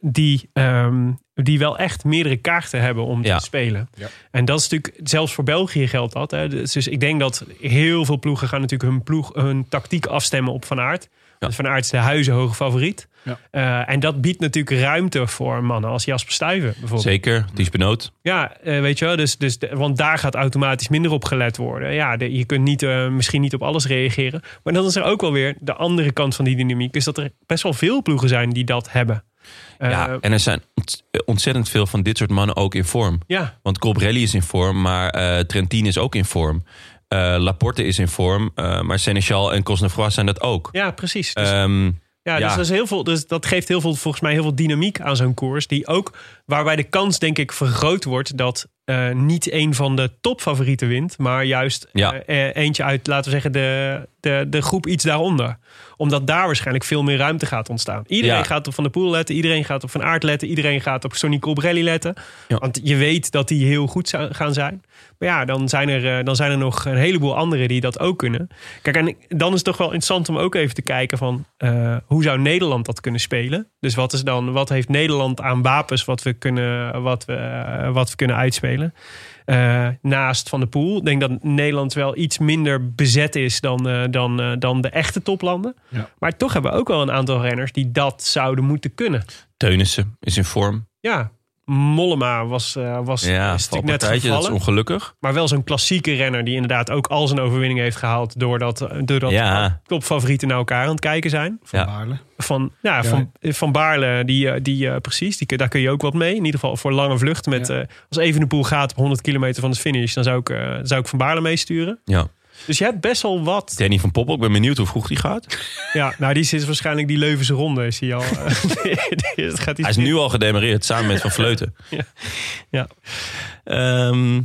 die, ehm, die wel echt meerdere kaarten hebben om
Ja.
te spelen.
Ja.
En dat is natuurlijk, zelfs voor België geldt dat. Hè. Dus, dus ik denk dat heel veel ploegen gaan natuurlijk hun, ploeg, hun tactiek afstemmen op Van Aert. Want Van Aert is de huizenhoge favoriet.
Ja.
Eh, en dat biedt natuurlijk ruimte voor mannen als Jasper Stuyven bijvoorbeeld.
Zeker, die is benoot.
Ja, eh, weet je wel. Dus, dus de- want daar gaat automatisch minder op gelet worden. Ja, de- je kunt niet, eh, misschien niet op alles reageren. Maar dan is er ook wel weer de andere kant van die dynamiek. Is dat er best wel veel ploegen zijn die dat hebben. Eh,
ja, en er zijn ont- ontzettend veel van dit soort mannen ook in vorm.
ja,
Want Colbrelli is in vorm, maar eh Trentin is ook in vorm. Eh, Laporte is in vorm, eh, maar Seneschal en Cosnefroid zijn dat ook.
ja, precies. Dus,
Ehm,
ja,
ja.
Dus, dat is heel veel, dus dat geeft heel veel, volgens mij heel veel dynamiek aan zo'n koers. Die ook, waarbij de kans denk ik vergroot wordt dat eh, niet een van de topfavorieten wint. Maar juist
Ja.
eh, eh, eentje uit, laten we zeggen, de, de, de groep iets daaronder. Omdat daar waarschijnlijk veel meer ruimte gaat ontstaan. Iedereen
Ja.
gaat op Van der Poel letten. Iedereen gaat op Van Aert letten. Iedereen gaat op Sonny Colbrelli letten.
Ja.
Want je weet dat die heel goed zou- gaan zijn. Maar ja, dan zijn, er, eh, dan zijn er nog een heleboel anderen die dat ook kunnen. Kijk, en dan is het toch wel interessant om ook even te kijken van... eh, hoe zou Nederland dat kunnen spelen? Dus wat, is dan, wat heeft Nederland aan wapens wat we kunnen, wat we, eh, wat we kunnen uitspelen? eh, naast Van de Poel. Ik denk dat Nederland wel iets minder bezet is dan, eh, dan, eh, dan de echte toplanden.
Ja.
Maar toch hebben we ook wel een aantal renners die dat zouden moeten kunnen.
Teunissen is in vorm.
Ja, Mollema was, eh was
Ja,
is natuurlijk net
valpartijtje, dat is
gevallen.
ongelukkig.
Maar wel zo'n klassieke renner die inderdaad ook al zijn overwinning heeft gehaald... doordat, eh, doordat
Ja.
topfavorieten naar elkaar aan het kijken zijn.
van
ja.
Baarle.
Van, ja,
Ja.
van, eh, van Baarle, die, eh, die, eh, precies, die, kun- daar kun je ook wat mee. In ieder geval voor lange vlucht. Met,
Ja.
eh, als Evenepoel gaat op 100 kilometer van de finish... dan zou ik, eh, zou ik Van Baarle meesturen.
Ja.
Dus je hebt best wel wat.
Danny van Poppel, ik ben benieuwd hoe vroeg die
*laughs*
gaat.
Ja, nou, die zit waarschijnlijk die Leuvense ronde. Is die al, eh, *laughs* die- het gaat iets
Hij is nu al gedemareerd, samen met Van Vleuten.
*laughs* Ja. Ja.
Ehm,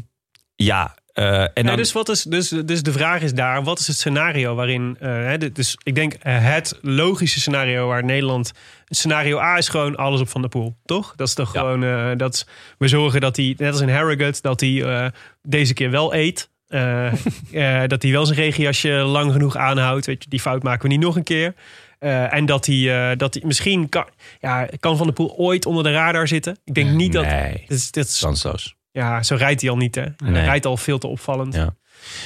ja, eh, en
Nee,
dan...
dus, wat is, dus, dus de vraag is daar, wat is het scenario waarin... eh, hè, dit- dus ik denk eh, het logische scenario waar Nederland... Scenario A is gewoon alles op Van der Poel, toch? Dat is toch
Ja.
gewoon... eh, dat is- we zorgen dat hij, net als in Harrogate, dat hij eh, deze keer wel eet. Eh, *laughs* eh, dat hij wel zijn regenjasje lang genoeg aanhoudt. Weet je, die fout maken we niet nog een keer. Eh, en dat hij, eh, dat hij misschien... Kan, ja, kan Van der Poel ooit onder de radar zitten? Ik denk niet dat...
Nee,
Dit is, dit is-
kansloos.
ja, zo rijdt hij al niet, hè?
Nee.
Hij rijdt al veel te opvallend.
Ja.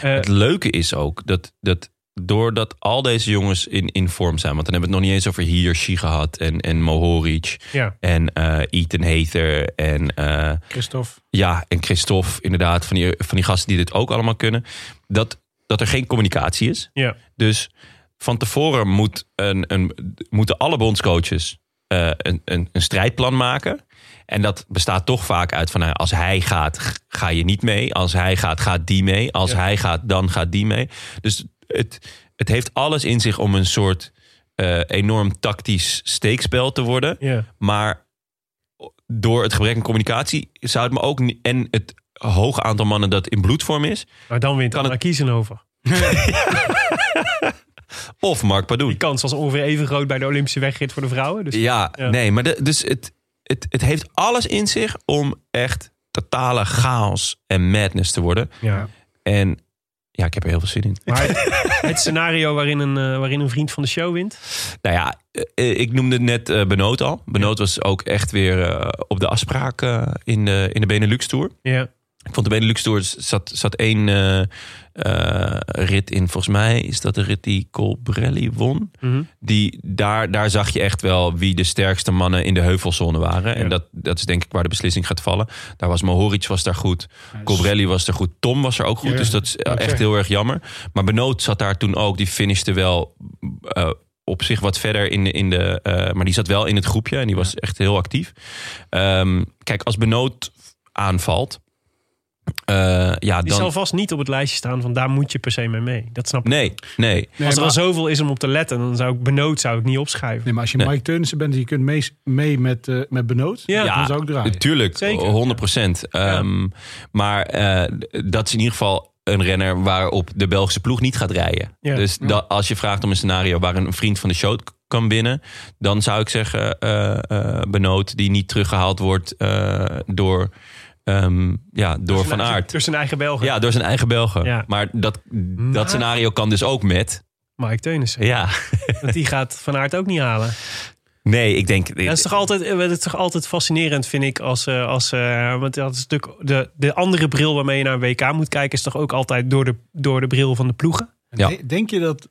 Eh,
Het leuke is ook dat, dat doordat al deze jongens in, in vorm zijn, want dan hebben we het nog niet eens over Hirschi gehad en, en Mohoric
Ja.
en eh Ethan Hater en eh,
Christophe.
ja, en Christophe inderdaad, van die, van die gasten die dit ook allemaal kunnen, dat, dat er geen communicatie is.
Ja.
Dus van tevoren moet een, een, moeten alle bondscoaches eh, een, een, een strijdplan maken. En dat bestaat toch vaak uit van nou, als hij gaat, g- ga je niet mee. Als hij gaat, gaat die mee. Als hij gaat, dan gaat die mee. Dus het, het heeft alles in zich om een soort eh, enorm tactisch steekspel te worden.
Ja.
Maar door het gebrek aan communicatie zou het me ook niet. En het hoog aantal mannen dat in bloedvorm is.
Maar dan wint
Kan
Anna
het-
Kiezen over.
Of Mark Padoen.
Die kans was ongeveer even groot bij de Olympische wegrit voor de vrouwen. Dus
Ja,
Ja.
nee, maar de- dus het, het, het heeft alles in zich om echt totale chaos en madness te worden.
ja.
En ja, ik heb er heel veel zin in.
Maar het, *laughs* het scenario waarin een, eh, waarin een vriend van de show wint.
Nou ja, eh, eh, ik noemde net eh, Benoot al. Benoot was ook echt weer eh, op de afspraak eh, in, de, in de Benelux Tour.
Ja.
Ik vond de Benelux Tour zat, zat één eh, eh, rit in. Volgens mij is dat de rit die Colbrelli won.
Mhm.
Die, daar, daar zag je echt wel wie de sterkste mannen in de heuvelzone waren.
Ja.
En dat, dat is denk ik waar de beslissing gaat vallen. Daar was Mohoric was daar goed. Colbrelli was er goed. Tom was er ook goed.
Ja,
dus dat is
ik
echt
zeggen.
heel erg jammer. Maar Benoot zat daar toen ook. Die finishte wel eh, op zich wat verder in de... In de eh, maar die zat wel in het groepje. En die was echt heel actief. Ehm, kijk, als Benoot aanvalt... eh, ja,
Die zal
dan...
vast niet op het lijstje staan van daar moet je per se mee mee. Dat snap ik.
Nee, nee.
Als er
maar-
al zoveel is om op te letten, dan zou ik benood zou ik niet opschuiven.
Nee, maar als je
Nee.
Mike Teunissen bent en je kunt mee, mee met, eh, met Benoot,
Ja.
dan zou ik draaien.
Tuurlijk,
Zeker.
100 procent. Ehm, Maar eh, dat is in ieder geval een renner waarop de Belgische ploeg niet gaat rijden.
Ja.
Dus dat, als je vraagt om een scenario waar een vriend van de show k- kan winnen, dan zou ik zeggen eh eh, Benoot die niet teruggehaald wordt eh, door, ehm, ja, door Van Aert.
Door zijn eigen Belgen.
Ja, door zijn eigen Belgen.
Ja.
Maar dat, dat scenario kan dus ook met.
Mike Teunissen.
Ja.
Want die gaat Van Aert ook niet halen.
Nee, ik denk.
Ja, dat is toch altijd, eh, dat is toch altijd fascinerend, vind ik. Als, eh, als, eh, want dat is natuurlijk de, de andere bril waarmee je naar een WK moet kijken, is toch ook altijd door de, door de bril van de ploegen?
Ja.
De- Denk je dat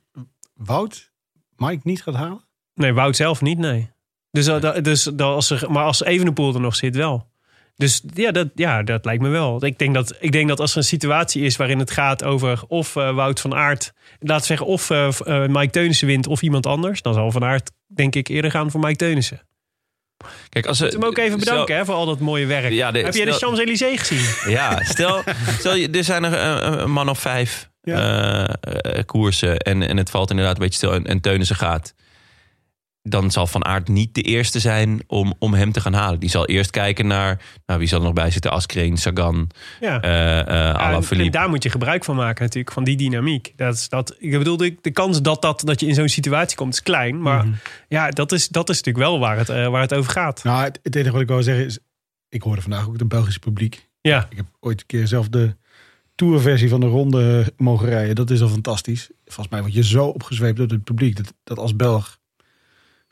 Wout Mike niet gaat halen?
Nee, Wout zelf niet, nee. Dus, dat- dat- dus dat als er, maar als Evenepoel er nog zit, wel. Dus ja dat, ja, dat lijkt me wel. Ik denk, dat, ik denk dat als er een situatie is waarin het gaat over of eh, Wout van Aert, laat we zeggen, of eh, v- eh, Mike Teunissen wint of iemand anders, dan zal Van Aert denk ik eerder gaan voor Mike Teunissen.
Kijk, als ze
Moet hem ook even bedanken hè, voor al dat mooie werk.
Ja, de-
Heb jij de
stel-
Champs-Élysées gezien?
Ja, stel, stel je- er zijn er eh, een man of vijf eh, eh, koersen en, en het valt inderdaad een beetje stil en, en Teunissen gaat. Dan zal Van Aert niet de eerste zijn om, om hem te gaan halen. Die zal eerst kijken naar nou, wie zal er nog bij zitten. Askreen, Sagan,
Ja.
eh eh
Ja, en- en
Alaphilippe.
daar moet je gebruik van maken natuurlijk, van die dynamiek. Dat is, dat, ik bedoel, de, de kans dat, dat, dat je in zo'n situatie komt is
Mhm.
klein.
Mhm.
Maar ja, dat is, dat is natuurlijk wel waar het, eh, waar het over gaat.
Nou, het, het enige wat ik wil zeggen is, ik hoorde vandaag ook het Belgische publiek.
Ja,
Ik heb ooit een keer zelf de tourversie van de ronde eh, mogen rijden. Dat is al fantastisch. Volgens mij word je zo opgezweept door het publiek, dat, dat als Belg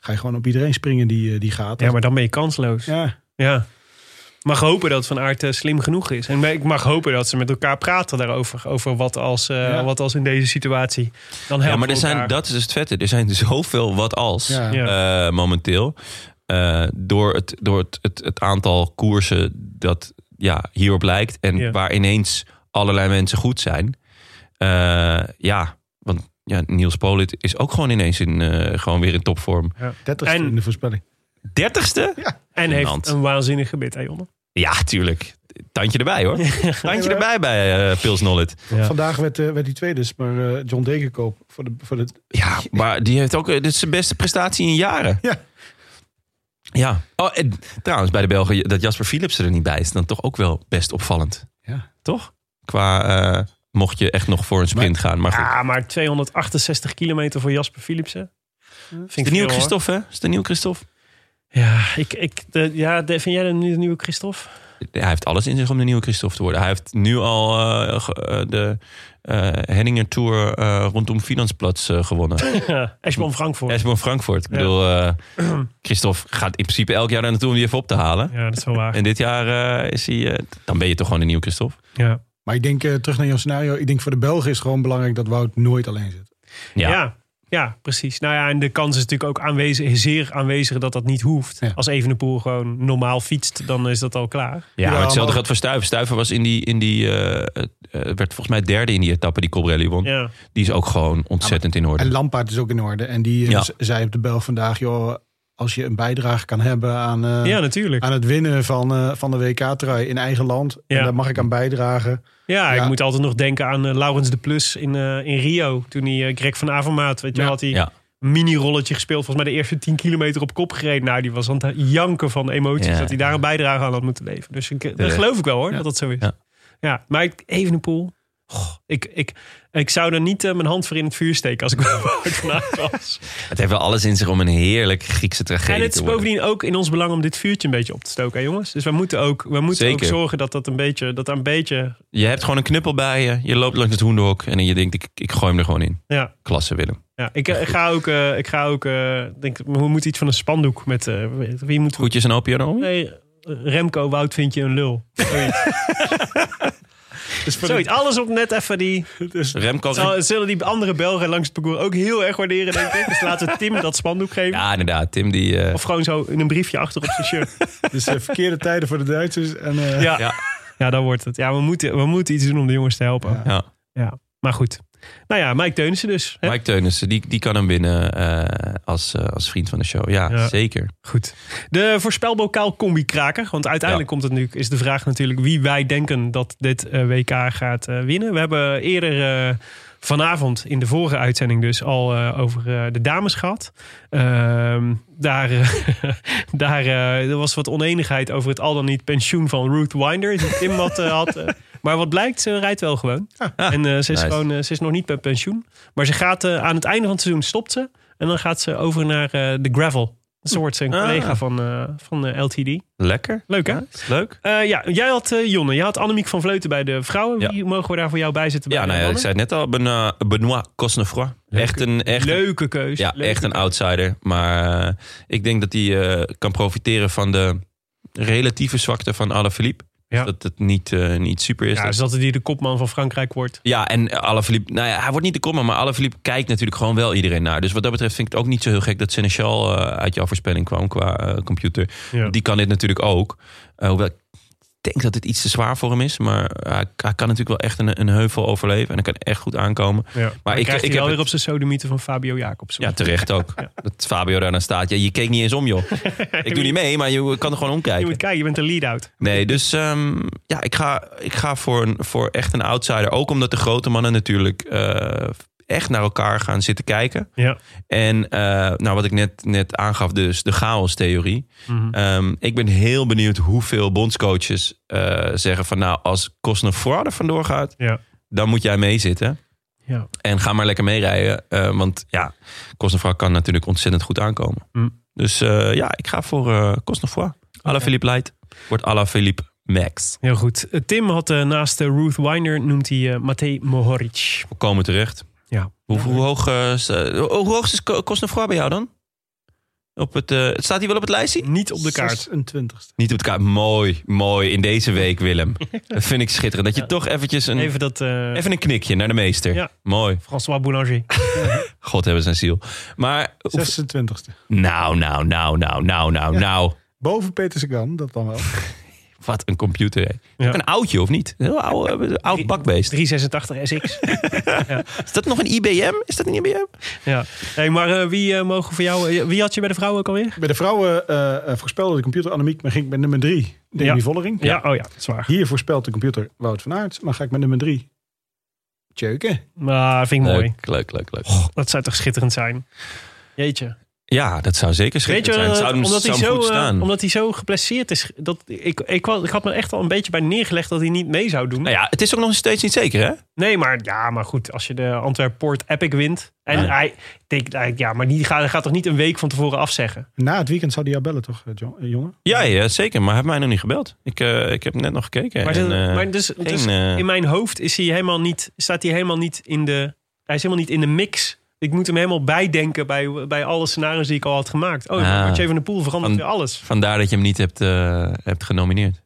ga je gewoon op iedereen springen die, eh, die gaat.
ja maar dan ben je kansloos. Ja.
Ja.
Mag hopen dat Van Aert eh, slim genoeg is. En ik mag hopen dat ze met elkaar praten daarover. Over wat als, eh,
Ja.
wat als in deze situatie. Dan
Ja,
helpen
maar er
we
zijn,
elkaar.
dat is dus het vette. Er zijn *laughs* zoveel wat als
Ja.
Ja.
eh, momenteel. Eh, door het, door het, het, het aantal koersen dat ja, hierop lijkt. En
Ja.
waar ineens allerlei mensen goed zijn. Eh, ja, want ja, Niels Polit is ook gewoon ineens in, eh, gewoon weer in topvorm.
30
En-
in de voorspelling.
Dertigste?
En
Gênant.
heeft een waanzinnig gebit, hè Jonne?
Ja, tuurlijk. Tandje erbij hoor. Tandje erbij bij eh Pils Nollet.
Ja.
Vandaag werd, eh, werd die tweede, dus maar eh, John Degenkoop voor de, voor de
Ja, maar die heeft ook. eh, Dit is zijn beste prestatie in jaren.
Ja.
Ja. Oh, en trouwens, bij de Belgen dat Jasper Philips er niet bij is, dan toch ook wel best opvallend.
Ja.
Toch? Qua. eh, mocht je echt nog voor een sprint gaan. Maar goed.
Ja, maar Ah, 268 kilometer voor Jasper Philipsen. Vind ik
de nieuwe
veel, hoor.
Christophe, hè? Is de nieuwe Christophe?
Ja, ik, ik, de, ja de, vind jij de nieuwe nieuwe Christophe?
Hij heeft alles in zich om de nieuwe Christophe te worden. Hij heeft nu al eh, ge- eh, de eh, Henninger Tour eh, rondom Finansplatz eh,
Oh.
gewonnen.
Ashbon Frankfurt.
Esbon Frankfurt. Ik bedoel, eh, *clears throat* Christophe gaat in principe elk jaar daar naartoe om die even op te halen.
Ja, dat is wel waar.
En dit jaar eh, is hij. eh, dan ben je toch gewoon de nieuwe Christophe.
Ja.
Maar ik denk, eh, terug naar jouw scenario, ik denk voor de Belgen is het gewoon belangrijk dat Wout nooit alleen zit.
Ja.
Ja. ja. precies. Nou ja, en de kans is natuurlijk ook aanwezig, zeer aanwezig dat dat niet hoeft.
Ja.
Als Evenepoel gewoon normaal fietst, dan is dat al klaar.
Ja, maar
Ja,
hetzelfde
maar-
geldt voor Stuiven. Stuiven was in die, in die eh, eh, werd volgens mij derde in die etappe die Colbrelli won.
Ja,
Die is ook gewoon ontzettend in orde.
En Lampaard is ook in orde. En die eh,
Ja.
z- zei op de bel vandaag, joh, als je een bijdrage kan hebben aan, eh,
ja natuurlijk.
aan het winnen van, eh, van de WK-trui in eigen land. En
Ja.
daar mag ik aan bijdragen.
Ja,
Ja.
ik moet altijd nog denken aan eh, Laurens de Plus in, eh, in Rio. Toen hij eh, Greg van Avermaat, weet je,
Ja.
had hij
Ja.
een mini-rolletje gespeeld. Volgens mij de eerste 10 kilometer op kop gereden. Nou, die was aan het janken van emoties.
Ja.
Dat hij daar een bijdrage aan had moeten leveren. Dus ik, dat
Terecht.
geloof ik wel hoor,
Ja.
dat dat zo is.
Ja.
Ja, maar ik, even een poel. Ik, ik, ik zou daar niet eh, mijn hand voor in het vuur steken als ik *laughs* Wout van Aert was.
Het heeft wel alles in zich om een heerlijk Griekse tragedie
En het
te
is
worden.
bovendien ook in ons belang om dit vuurtje een beetje op te stoken, hè, jongens. Dus we moeten ook, we moeten ook
Zeker.
zorgen dat dat een beetje, dat daar een beetje,
Je hebt gewoon een knuppel bij je. Je loopt langs het hoenderhok en je denkt, ik, ik gooi hem er gewoon in.
ja,
Klasse, Willem.
Ja, ik, eh, ga ook, eh, ik ga ook eh, denk, we moeten iets van een spandoek met, eh, wie moet
Groetjes en opie erom.
Nee, Remco Wout vind je een lul. Zoiets,
*laughs* Dus voor
Zoiets.
de-
alles op net even die,
*laughs* dus-
Remco.
zal- zullen die andere Belgen langs het parcours ook heel erg waarderen denk ik. Dus laten we Tim dat spandoek geven.
Ja, inderdaad. Tim die... eh,
Of gewoon zo in een briefje achter op zijn shirt.
dus eh,
*laughs*
verkeerde tijden voor de Duitsers. En, eh,
Ja,
Ja.
ja. daar wordt het. Ja, we moeten, we moeten iets doen om de jongens te helpen. Ja.
ja.
Maar goed. Nou ja, Mike Teunissen dus. hè?
Mike Teunissen, die, die kan hem winnen eh, als, eh, als vriend van de show. Ja,
Ja.
zeker.
Goed. De voorspelbokaal combi-kraker. Want uiteindelijk komt het nu, is de vraag natuurlijk wie wij denken dat dit eh, WK gaat eh, winnen. We hebben eerder eh, vanavond in de vorige uitzending dus al eh, over eh, de dames gehad. Ehm, daar eh, *laughs* daar eh, er was wat oneenigheid over het al dan niet pensioen van Ruth Winder. Die Tim wat eh, had. eh. maar wat blijkt, ze rijdt wel gewoon. en eh, ze, is
Nice.
gewoon, eh, ze is nog niet bij pensioen. Maar ze gaat eh, aan het einde van het seizoen stopt ze. En dan gaat ze over naar eh, de gravel. Ze wordt een
Ah.
collega van, eh, van eh, LTD.
Lekker.
Leuk hè?
Ja, is het leuk.
Eh, ja, jij had eh, Jonne, jij had Annemiek van Vleuten bij de vrouwen.
Ja.
Wie mogen we daar voor jou bij zitten?
Ja,
bij de
nou ja, ik
mannen?
zei het net al. Benoit, Benoit Cosnefroy. Echt een... Echt een-
Leuke keuze.
Ja,
Leuke
echt een
keuze.
outsider. Maar eh, ik denk dat hij eh, kan profiteren van de relatieve zwakte van Alaphilippe.
Ja.
Dat het niet, eh, niet super is.
Ja, dus dat hij de kopman van Frankrijk wordt.
Ja, en Alaphilippe, nou ja, hij wordt niet de komma, maar Alaphilippe kijkt natuurlijk gewoon wel iedereen naar. Dus wat dat betreft vind ik het ook niet zo heel gek dat Seneschal eh, uit jouw voorspelling kwam qua eh, computer.
Ja.
Die kan dit natuurlijk ook. Eh, hoewel ik denk dat het iets te zwaar voor hem is, maar hij, hij kan natuurlijk wel echt een, een heuvel overleven en hij kan echt goed aankomen.
Ja. Maar,
ik-
ik, krijgt
ik
hij
heb
wel weer
het-
op zijn sodomieten van Fabio Jacobs.
Ja, terecht ook. Dat Fabio daarna staat. Ja, je keek niet eens om, joh.
*laughs*
Ik doe niet mee, maar je kan er gewoon
je
omkijken.
moet kijken, je bent een lead-out.
Nee, dus ehm, ja, ik ga, ik ga voor, een, voor echt een outsider. Ook omdat de grote mannen natuurlijk eh, echt naar elkaar gaan zitten kijken.
Ja.
En eh, nou, wat ik net, net aangaf, dus de chaos-theorie.
Mhm.
Ehm, ik ben heel benieuwd hoeveel bondscoaches eh, zeggen van... nou, als Cosnefroid er vandoor gaat,
Ja.
dan moet jij meezitten.
Ja.
En ga maar lekker meerijden. eh, want ja, Cosnefroid kan natuurlijk ontzettend goed aankomen.
Mm.
Dus eh, ja, ik ga voor eh Cosnefroid. Ala Philippe Light wordt Ala Philippe Max.
Heel goed. Eh, Tim had eh, naast eh, Ruth Winder, noemt hij eh Matej Mohoric.
Volkomen terecht.
Ja.
Hoe, hoe, hoog, eh, is, eh, hoe hoe hoog is Co- Cosnefroid bij jou dan? Op het, eh, staat hij wel op het lijstje?
Niet op de kaart.
26e.
Niet op de kaart. Mooi, mooi. In deze week,
*laughs*
Willem. Dat vind ik schitterend. Dat je
Ja.
toch eventjes een, even,
Even dat eh,
een knikje naar de meester.
Ja.
Mooi.
François Boulanger.
God hebben zijn ziel. Maar, hoe-
26e.
nou, nou, nou, nou, nou, nou,
Ja.
nou.
Boven Peter Sagan, dat dan wel.
Wat een computer, hè.
Ja.
Ook een oudje, of niet? Een heel oude, eh, oud bakbeest.
386 SX.
Is dat nog een IBM? Is dat een IBM?
ja. Hey, maar eh, wie eh, mogen voor jou... eh, wie had je bij de vrouwen ook alweer?
Bij de vrouwen eh, eh, voorspelde de computer Annemiek, maar ging ik met nummer 3, Demi
Ja.
Vollering.
oh ja, zwaar.
Hier voorspelt de computer Wout van Aert, maar ga ik met nummer 3. Tjeuken.
Maar vind ik mooi. Oh.
Leuk, leuk, leuk, leuk.
Dat zou toch schitterend zijn? Jeetje.
Ja, dat zou zeker
Weet je,
schitterend zijn. Het zou hem,
eh, omdat, hij
zou hem
zo,
goed
eh,
staan.
omdat hij zo geblesseerd is. Dat, ik, ik, wa- ik had me echt al een beetje bij neergelegd dat hij niet mee zou doen.
Nou ja, het is ook nog steeds niet zeker, hè?
Nee, maar, ja, maar goed, als je de Antwerp Port Epic wint. En
Ja.
hij denkt, eigenlijk, ja, maar die gaat, hij gaat toch niet een week van tevoren afzeggen?
Na het weekend zou die jou bellen, toch, eh, Jo- eh, jongen?
Ja, ja, zeker. Maar hij heeft mij nog niet gebeld. Ik, eh, ik heb net nog gekeken.
Maar,
en,
dat-
eh,
maar dus, dus
geen, eh,
in mijn hoofd is hij helemaal niet, staat hij helemaal niet in de. Hij is helemaal niet in de mix. Ik moet hem helemaal bijdenken bij, bij alle scenario's die ik al had gemaakt. Oh,
Ah.
maar Mathieu van de Poel verandert
Van-
weer alles.
Vandaar dat je hem niet hebt, eh, hebt genomineerd.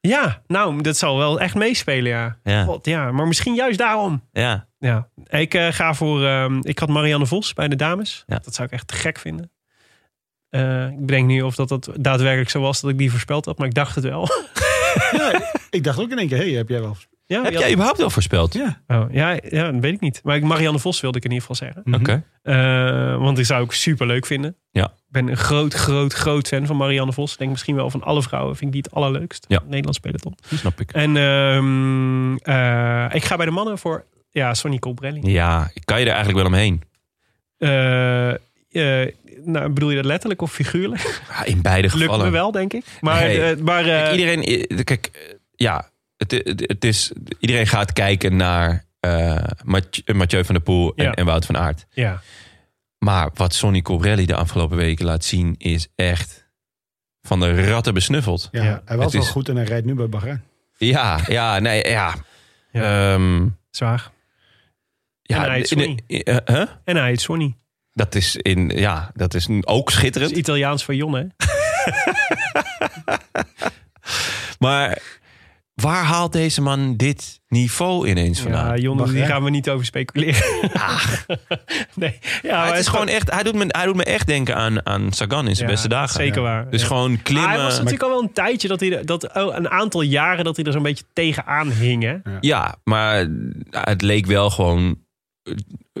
Ja, nou, dat zal wel echt meespelen, ja.
Ja.
God, ja, maar misschien juist daarom.
Ja.
Ja. Ik eh, ga voor. ehm, ik had Marianne Vos bij de dames.
Ja.
Dat zou ik echt te gek vinden. Eh, ik bedenk nu of dat, dat daadwerkelijk zo was dat ik die voorspeld had, maar ik dacht het wel. *laughs*
Ik dacht ook in één keer, hé, hey, heb jij wel...
ja,
Heb
ja.
jij überhaupt wel voorspeld?
Ja,
Oh, ja, ja, dat weet ik niet. Maar ik- Marianne Vos wilde ik in ieder geval zeggen.
Oké.
Eh, want die zou ik super leuk vinden.
Ja.
Ik ben een groot, groot, groot fan van Marianne Vos. Ik Denk misschien wel van alle vrouwen. Vind ik die het allerleukst.
Ja.
Nederlands peloton.
Snap ik.
En ehm, eh, ik ga bij de mannen voor ja, Sonny Colbrelli.
Ja, kan je er eigenlijk wel omheen?
Eh, eh, nou, bedoel je dat letterlijk of figuurlijk?
Ja, In beide
Lukt
gevallen.
me wel, denk ik. Maar,
Nee.
eh, maar eh,
Kijk, iedereen, i- kijk, eh, ja, het, het, het is, iedereen gaat kijken naar eh, Mathieu- eh, Mathieu van der Poel en,
Ja.
en Wout van Aert.
ja,
Maar wat Sonny Corelli de afgelopen weken laat zien is echt van de ratten besnuffeld.
ja,
Ja,
hij was
het
wel
is-
goed en hij rijdt nu bij Bahrein.
Ja, ja, nee, ja.
Ja.
Ehm,
zwaar.
ja,
En hij heet
in de-
Sonny.
in- eh, huh?
En hij heet Sonny.
Dat is, in, ja, dat is ook
Dat
schitterend.
is Italiaans voor Jon, hè?
Maar waar haalt deze man dit niveau ineens vandaan?
Ja, Jon,
Mag,
die
hè?
gaan we niet over speculeren. *laughs* nee. Ja, maar
Ah. het is gewoon echt, hij doet, me, hij doet me echt denken aan, aan Sagan in zijn
Ja,
beste dagen.
Zeker
Ja.
waar.
Dus
Ja.
gewoon
Maar
klimmen.
hij was natuurlijk al wel een tijdje dat hij er- dat oh, een aantal jaren dat hij er zo'n beetje tegenaan hing. Hè?
Ja, maar het leek wel gewoon eh,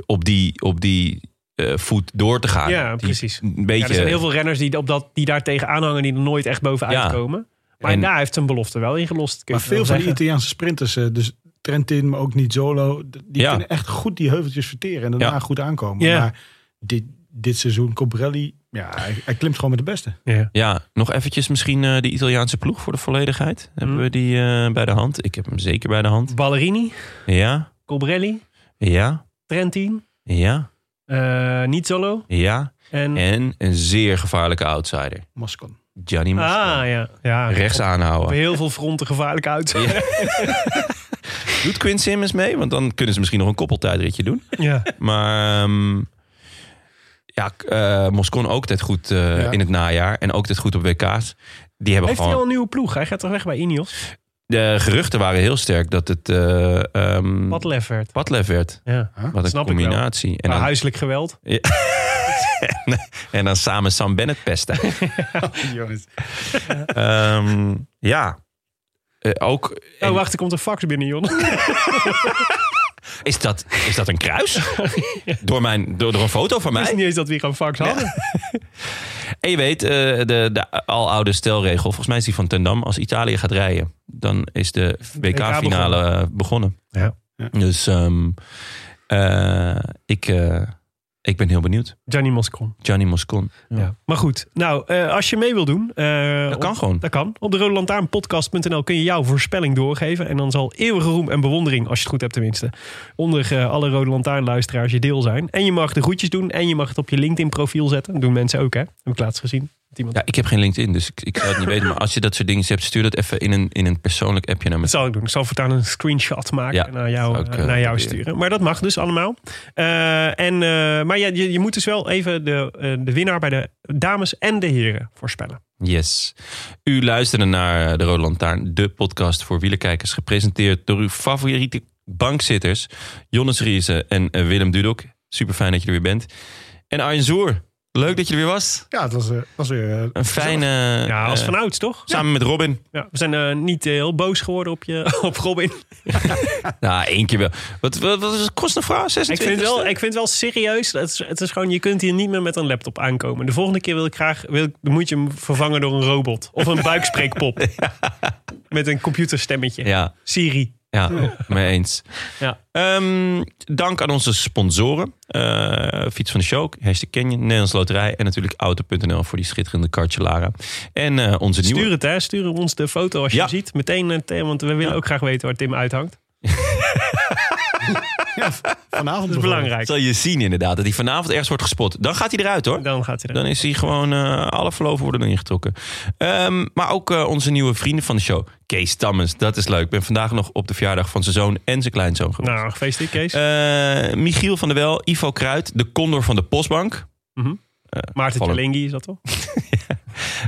op die, op die eh, voet door te gaan.
Ja,
Die-
precies.
Een
Ja,
beetje,
er zijn heel veel renners die, op dat, die daar tegenaan hangen die er nooit echt bovenuit
Ja.
komen. Maar
En-
daar heeft zijn belofte wel ingelost. kun je
Maar veel
wel
van die
zeggen.
Italiaanse sprinters, eh, dus Trentin, maar ook Nizzolo, d- die
Ja.
kunnen echt goed die heuveltjes verteren en daarna
Ja.
goed aankomen.
Ja.
Maar dit, dit seizoen, Cobrelli, ja, hij, hij klimt gewoon met de beste.
Ja.
ja, nog eventjes misschien eh de Italiaanse ploeg voor de volledigheid.
Mhm.
Hebben we die eh, bij de hand? Ik heb hem zeker bij de hand.
Ballerini,
Ja,
Colbrelli,
ja,
Trentin,
ja,
eh Nizzolo
ja.
en...
En een zeer gevaarlijke outsider.
Moscon.
Gianni Moscon.
ah, ja. ja.
Rechts
Op
aanhouden.
heel veel fronten gevaarlijk uit.
*laughs*
Ja.
Doet Quinn Simmons mee? Want dan kunnen ze misschien nog een koppeltijdritje doen. Maar ehm, ja, k- eh, Moscon ook dit goed eh,
Ja.
in het najaar. En ook dit goed op WK's. Die hebben
Heeft hij al
gewoon...
een nieuwe ploeg? Hij gaat toch weg bij
Mm.
Ineos?
De geruchten waren heel sterk dat het eh ehm,
Wat lef werd.
Padlef werd.
Ja.
Wat een
Snap ik wel. Nou,
combinatie. En
Maar
dan,
huiselijk geweld. Oh,
en dan samen Sam Bennett pesten.
*laughs*
Ehm, ja. Eh, ook, en-
Oh, wacht, er komt een fax binnen, Jon. *laughs*
is, dat, is dat een
*laughs*
kruis? door, mijn, door, door een foto van
Ik wist
mij?
niet eens dat we hier een fax hadden.
En je weet, eh, de, de aloude stelregel, volgens mij is die van Ten Dam. Als Italië gaat rijden, dan is de WK-finale eh, begonnen.
Ja.
Ja.
Dus ehm, eh, ik, eh, ik ben heel benieuwd.
Gianni Moscon.
Gianni Moscon. Ja.
Ja. Maar goed, nou, eh, als je mee wil doen... eh,
Dat kan
op-
gewoon.
Dat kan. Op de rodelantaarnpodcast.nl kun je jouw voorspelling doorgeven. En dan zal eeuwige roem en bewondering, als je het goed hebt tenminste... onder eh, alle Rode Lantaarnluisteraars je deel zijn. En je mag de groetjes doen en je mag het op je LinkedIn profiel zetten. Dat doen mensen ook, hè? Heb ik laatst gezien. Dat Iemand...
Ja, ik heb geen LinkedIn, dus ik, ik zou het niet weten. Maar als je dat soort dingen hebt, stuur dat even in een, in een persoonlijk appje naar me.
Dat zal ik doen. Ik zal voortaan een screenshot maken
Ja,
en naar jou,
zou ik,
eh,
eh,
naar jou
proberen.
sturen. Maar dat mag dus allemaal. Eh, en, eh, maar ja, je, je moet dus wel even de, eh, de winnaar bij de dames en de heren voorspellen.
Yes. U luisterde naar eh, De Rode Lantaarn, de podcast voor wielerkijkers. Gepresenteerd door uw favoriete bankzitters, Jonas Riese en eh, Willem Dudok. Super fijn dat je er weer bent. En Arjen Zoer, leuk dat je er weer was.
Ja, het was, eh, was weer... eh,
Een fijne...
Ja, als
eh,
vanouds, toch?
Samen met Robin.
Ja, we zijn eh, niet eh, heel boos geworden op, je, *laughs* op Robin.
Nou, één keer wel. Wat, wat, wat is het? Kost een vrouw?
Ik
26?
vind, het wel, ik vind het wel serieus. Het is, het is gewoon, je kunt hier niet meer met een laptop aankomen. De volgende keer wil ik graag, wil ik, dan moet je hem vervangen door een robot. Of een *laughs* buikspreekpop. Met een computerstemmetje.
Ja,
Siri.
ja, mee eens.
Ja.
Ehm, dank aan onze sponsoren. Eh, Fiets van de Show, hashtag Canyon, Nederlands Loterij... en natuurlijk Auto.nl voor die schitterende kartjelaren. En eh, onze nieuwe...
Stuur het hè, stuur ons de foto als je
Ja.
hem ziet. Meteen, eh, Tim, want we willen ook graag weten waar Tim uithangt.
vanavond
Dat is
begonnen.
belangrijk.
Zal je zien inderdaad, dat hij vanavond ergens wordt gespot. Dan gaat hij eruit hoor.
Dan gaat hij er.
Dan is hij gewoon, eh, alle verloven worden erin getrokken. Ehm, maar ook eh, onze nieuwe vrienden van de show, Kees Tammens. Dat is leuk. Ik ben vandaag nog op de verjaardag van zijn zoon en zijn kleinzoon geweest.
Nou, gefeliciteerd Kees.
Eh, Michiel van der Wel, Ivo Kruid, de condor van de Postbank.
Maarten
vallen.
Tjelingi is dat toch?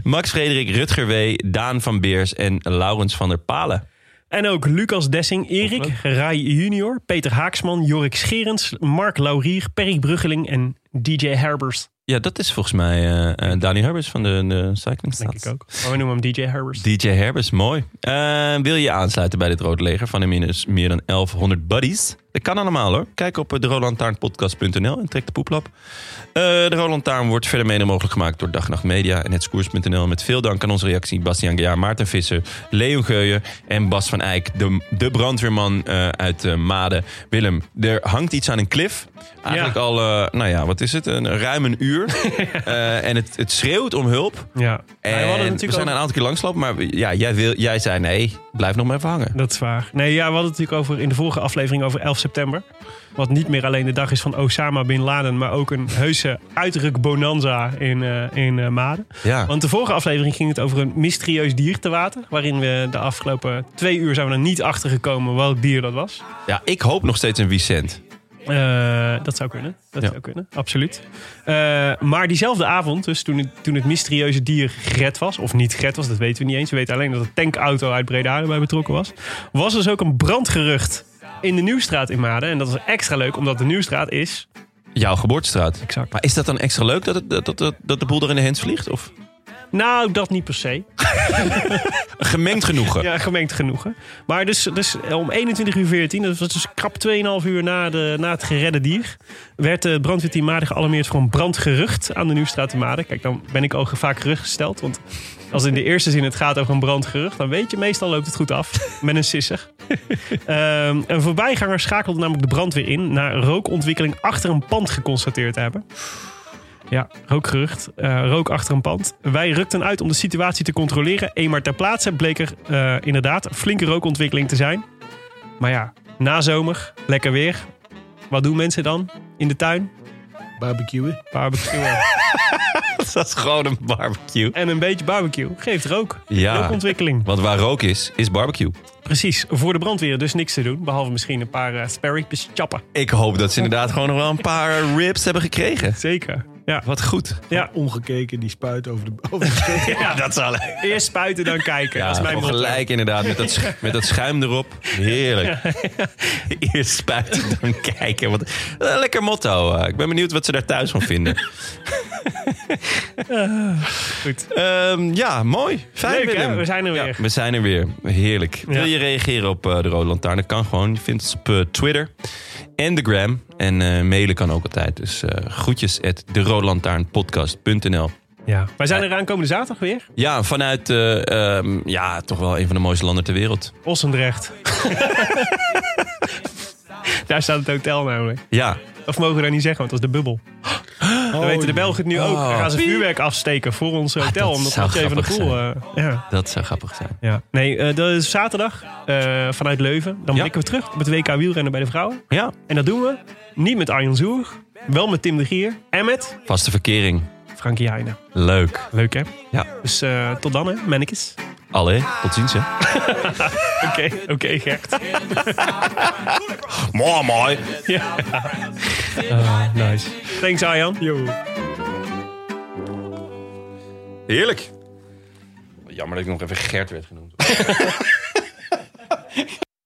Max Frederik, Rutger W., Daan van Beers en Laurens van der Palen.
En ook Lucas Dessing, Erik, Rai Junior, Peter Haaksman, Jorik Scherens, Mark Laurier, Perik Bruggeling en DJ Herbers.
Ja, dat is volgens mij eh eh, Dani Herbers van de, de
Denk
Cyclingstad.
ik ook. Maar we noemen hem DJ Herbers.
DJ Herbers, mooi. Eh, wil je je aansluiten bij dit Rode Leger van inmiddels meer dan 1100 buddies? Dat kan allemaal hoor. Kijk op eh, derolantaarnpodcast.nl en trek de poeplap. Eh, de Rolantaarn wordt verder mede mogelijk gemaakt door Dag en Nacht Media en hetskoers.nl. Met veel dank aan onze reactie Bastiaan Gejaar, Maarten Visser, Leon Geuyen en Bas van Eyck. De, de brandweerman eh, uit eh, Maden. Willem, er hangt iets aan een klif. Eigenlijk
Ja.
al, eh, nou ja, wat is het? Een, ruim een uur. Eh, en het, het schreeuwt om hulp.
Ja,
En
Nou, we hadden
we
natuurlijk
zijn
ook-
er een aantal keer langslopen, maar we- ja, jij, wil, jij zei nee, blijf nog maar even hangen.
Dat is waar. Nee, ja, we hadden het natuurlijk over, in de vorige aflevering over 11 september. Wat niet meer alleen de dag is van Osama Bin Laden, maar ook een heuse uitrukbonanza in, eh, in eh, Maden.
Ja.
Want de vorige aflevering ging het over een mysterieus dier te water. Waarin we de afgelopen twee uur zijn we er niet achter gekomen welk dier dat was.
ja, ik hoop nog steeds een Vicent.
Eh, dat zou kunnen. Dat
Ja.
zou kunnen, absoluut. Eh, maar diezelfde avond, dus toen het, toen het mysterieuze dier gered was, of niet gered was, dat weten we niet eens. We weten alleen dat een tankauto uit Breda erbij betrokken was. Was dus ook een brandgerucht in de Nieuwstraat in Maden. En dat was extra leuk, omdat de Nieuwstraat is.
Jouw geboortestraat.
Exact.
Maar is dat dan extra leuk dat, het, dat, dat, dat, dat de boel er in de hens vliegt? Of
Nou, dat niet per se.
gemengd genoegen?
*laughs* Ja, gemengd genoegen. Maar dus, dus om 21 uur 14, dat was dus krap 2,5 uur na, de, na het geredde dier, werd de brandweerteam Maden gealarmeerd voor een brandgerucht aan de Nieuwstraat te Maden. Kijk, dan ben ik ook vaak gerustgesteld, want als in de eerste zin het gaat over een brandgerucht, dan weet je, meestal loopt het goed af met een sisser. Ehm, een voorbijganger schakelde namelijk de brandweer in na rookontwikkeling achter een pand geconstateerd te hebben. Ja, rookgerucht. Eh, rook achter een pand. Wij rukten uit om de situatie te controleren. Eenmaal ter plaatse bleek er eh, inderdaad een flinke rookontwikkeling te zijn. Maar ja, na zomer, lekker weer. Wat doen mensen dan in de tuin?
Barbecuen.
*laughs*
Barbecue.
*laughs* Dat is gewoon een barbecue.
en een beetje barbecue geeft rook.
Ja.
Rookontwikkeling.
Want waar rook is, is barbecue.
Precies, voor de brandweer dus niks te doen. Behalve misschien een paar eh spare ribs chappen.
Ik hoop dat ze inderdaad gewoon nog wel een paar ribs hebben gekregen.
Zeker. Ja.
Wat goed.
ja.
Omgekeken, die spuit over de, over de
*laughs*
steeg.
ja.
Dat zal
Eerst spuiten, dan kijken.
Ja,
dat is mijn
gewoon
motto.
gelijk inderdaad. Met dat, sch- met dat schuim erop.
*laughs*
Heerlijk. Eerst spuiten, dan kijken. Wat, eh, lekker motto. eh. ik ben benieuwd wat ze daar thuis van vinden.
Goed.
Ehm, ja, mooi. Fijn,
Leuk, hè?
Willem.
We zijn er
Ja,
weer.
we zijn er weer. Heerlijk. Wil je reageren op eh, de Rode Lantaarn? Dat kan gewoon. Je vindt ons op eh, Twitter en de Gram. En eh, mailen kan ook altijd. Dus eh groetjes at deroodlantaarnpodcast.nl
Ja. Wij zijn er aankomende zaterdag weer.
Ja, vanuit eh, ehm, ja, toch wel een van de mooiste landen ter wereld.
Ossendrecht. *laughs* daar staat het hotel namelijk.
Ja,
Of mogen we daar niet zeggen, want dat is de bubbel.
Oh,
Dan weten
Oh,
de Belgen het nu ook. Dan gaan ze vuurwerk afsteken voor ons hotel.
Ah, dat
omdat
zou
Mathieu van de
grappig
Poel... eh, ja.
dat zou grappig zijn.
ja. Nee, eh, dat is zaterdag eh, vanuit Leuven. Dan
Ja.
blikken we terug op het WK wielrennen bij de vrouwen.
Ja,
En dat doen we niet met Arjan Zoer. Wel met Tim de Gier. En met
vaste verkering.
Frankie Heijnen.
Leuk.
Leuk hè?
Ja.
Dus eh, tot dan hè, mannetjes.
Allee, tot ziens hè.
Oké, oké
*laughs*
Gert.
Mooi, mooi.
nice. Thanks Arjan.
Heerlijk. Jammer dat ik nog even Gert werd genoemd.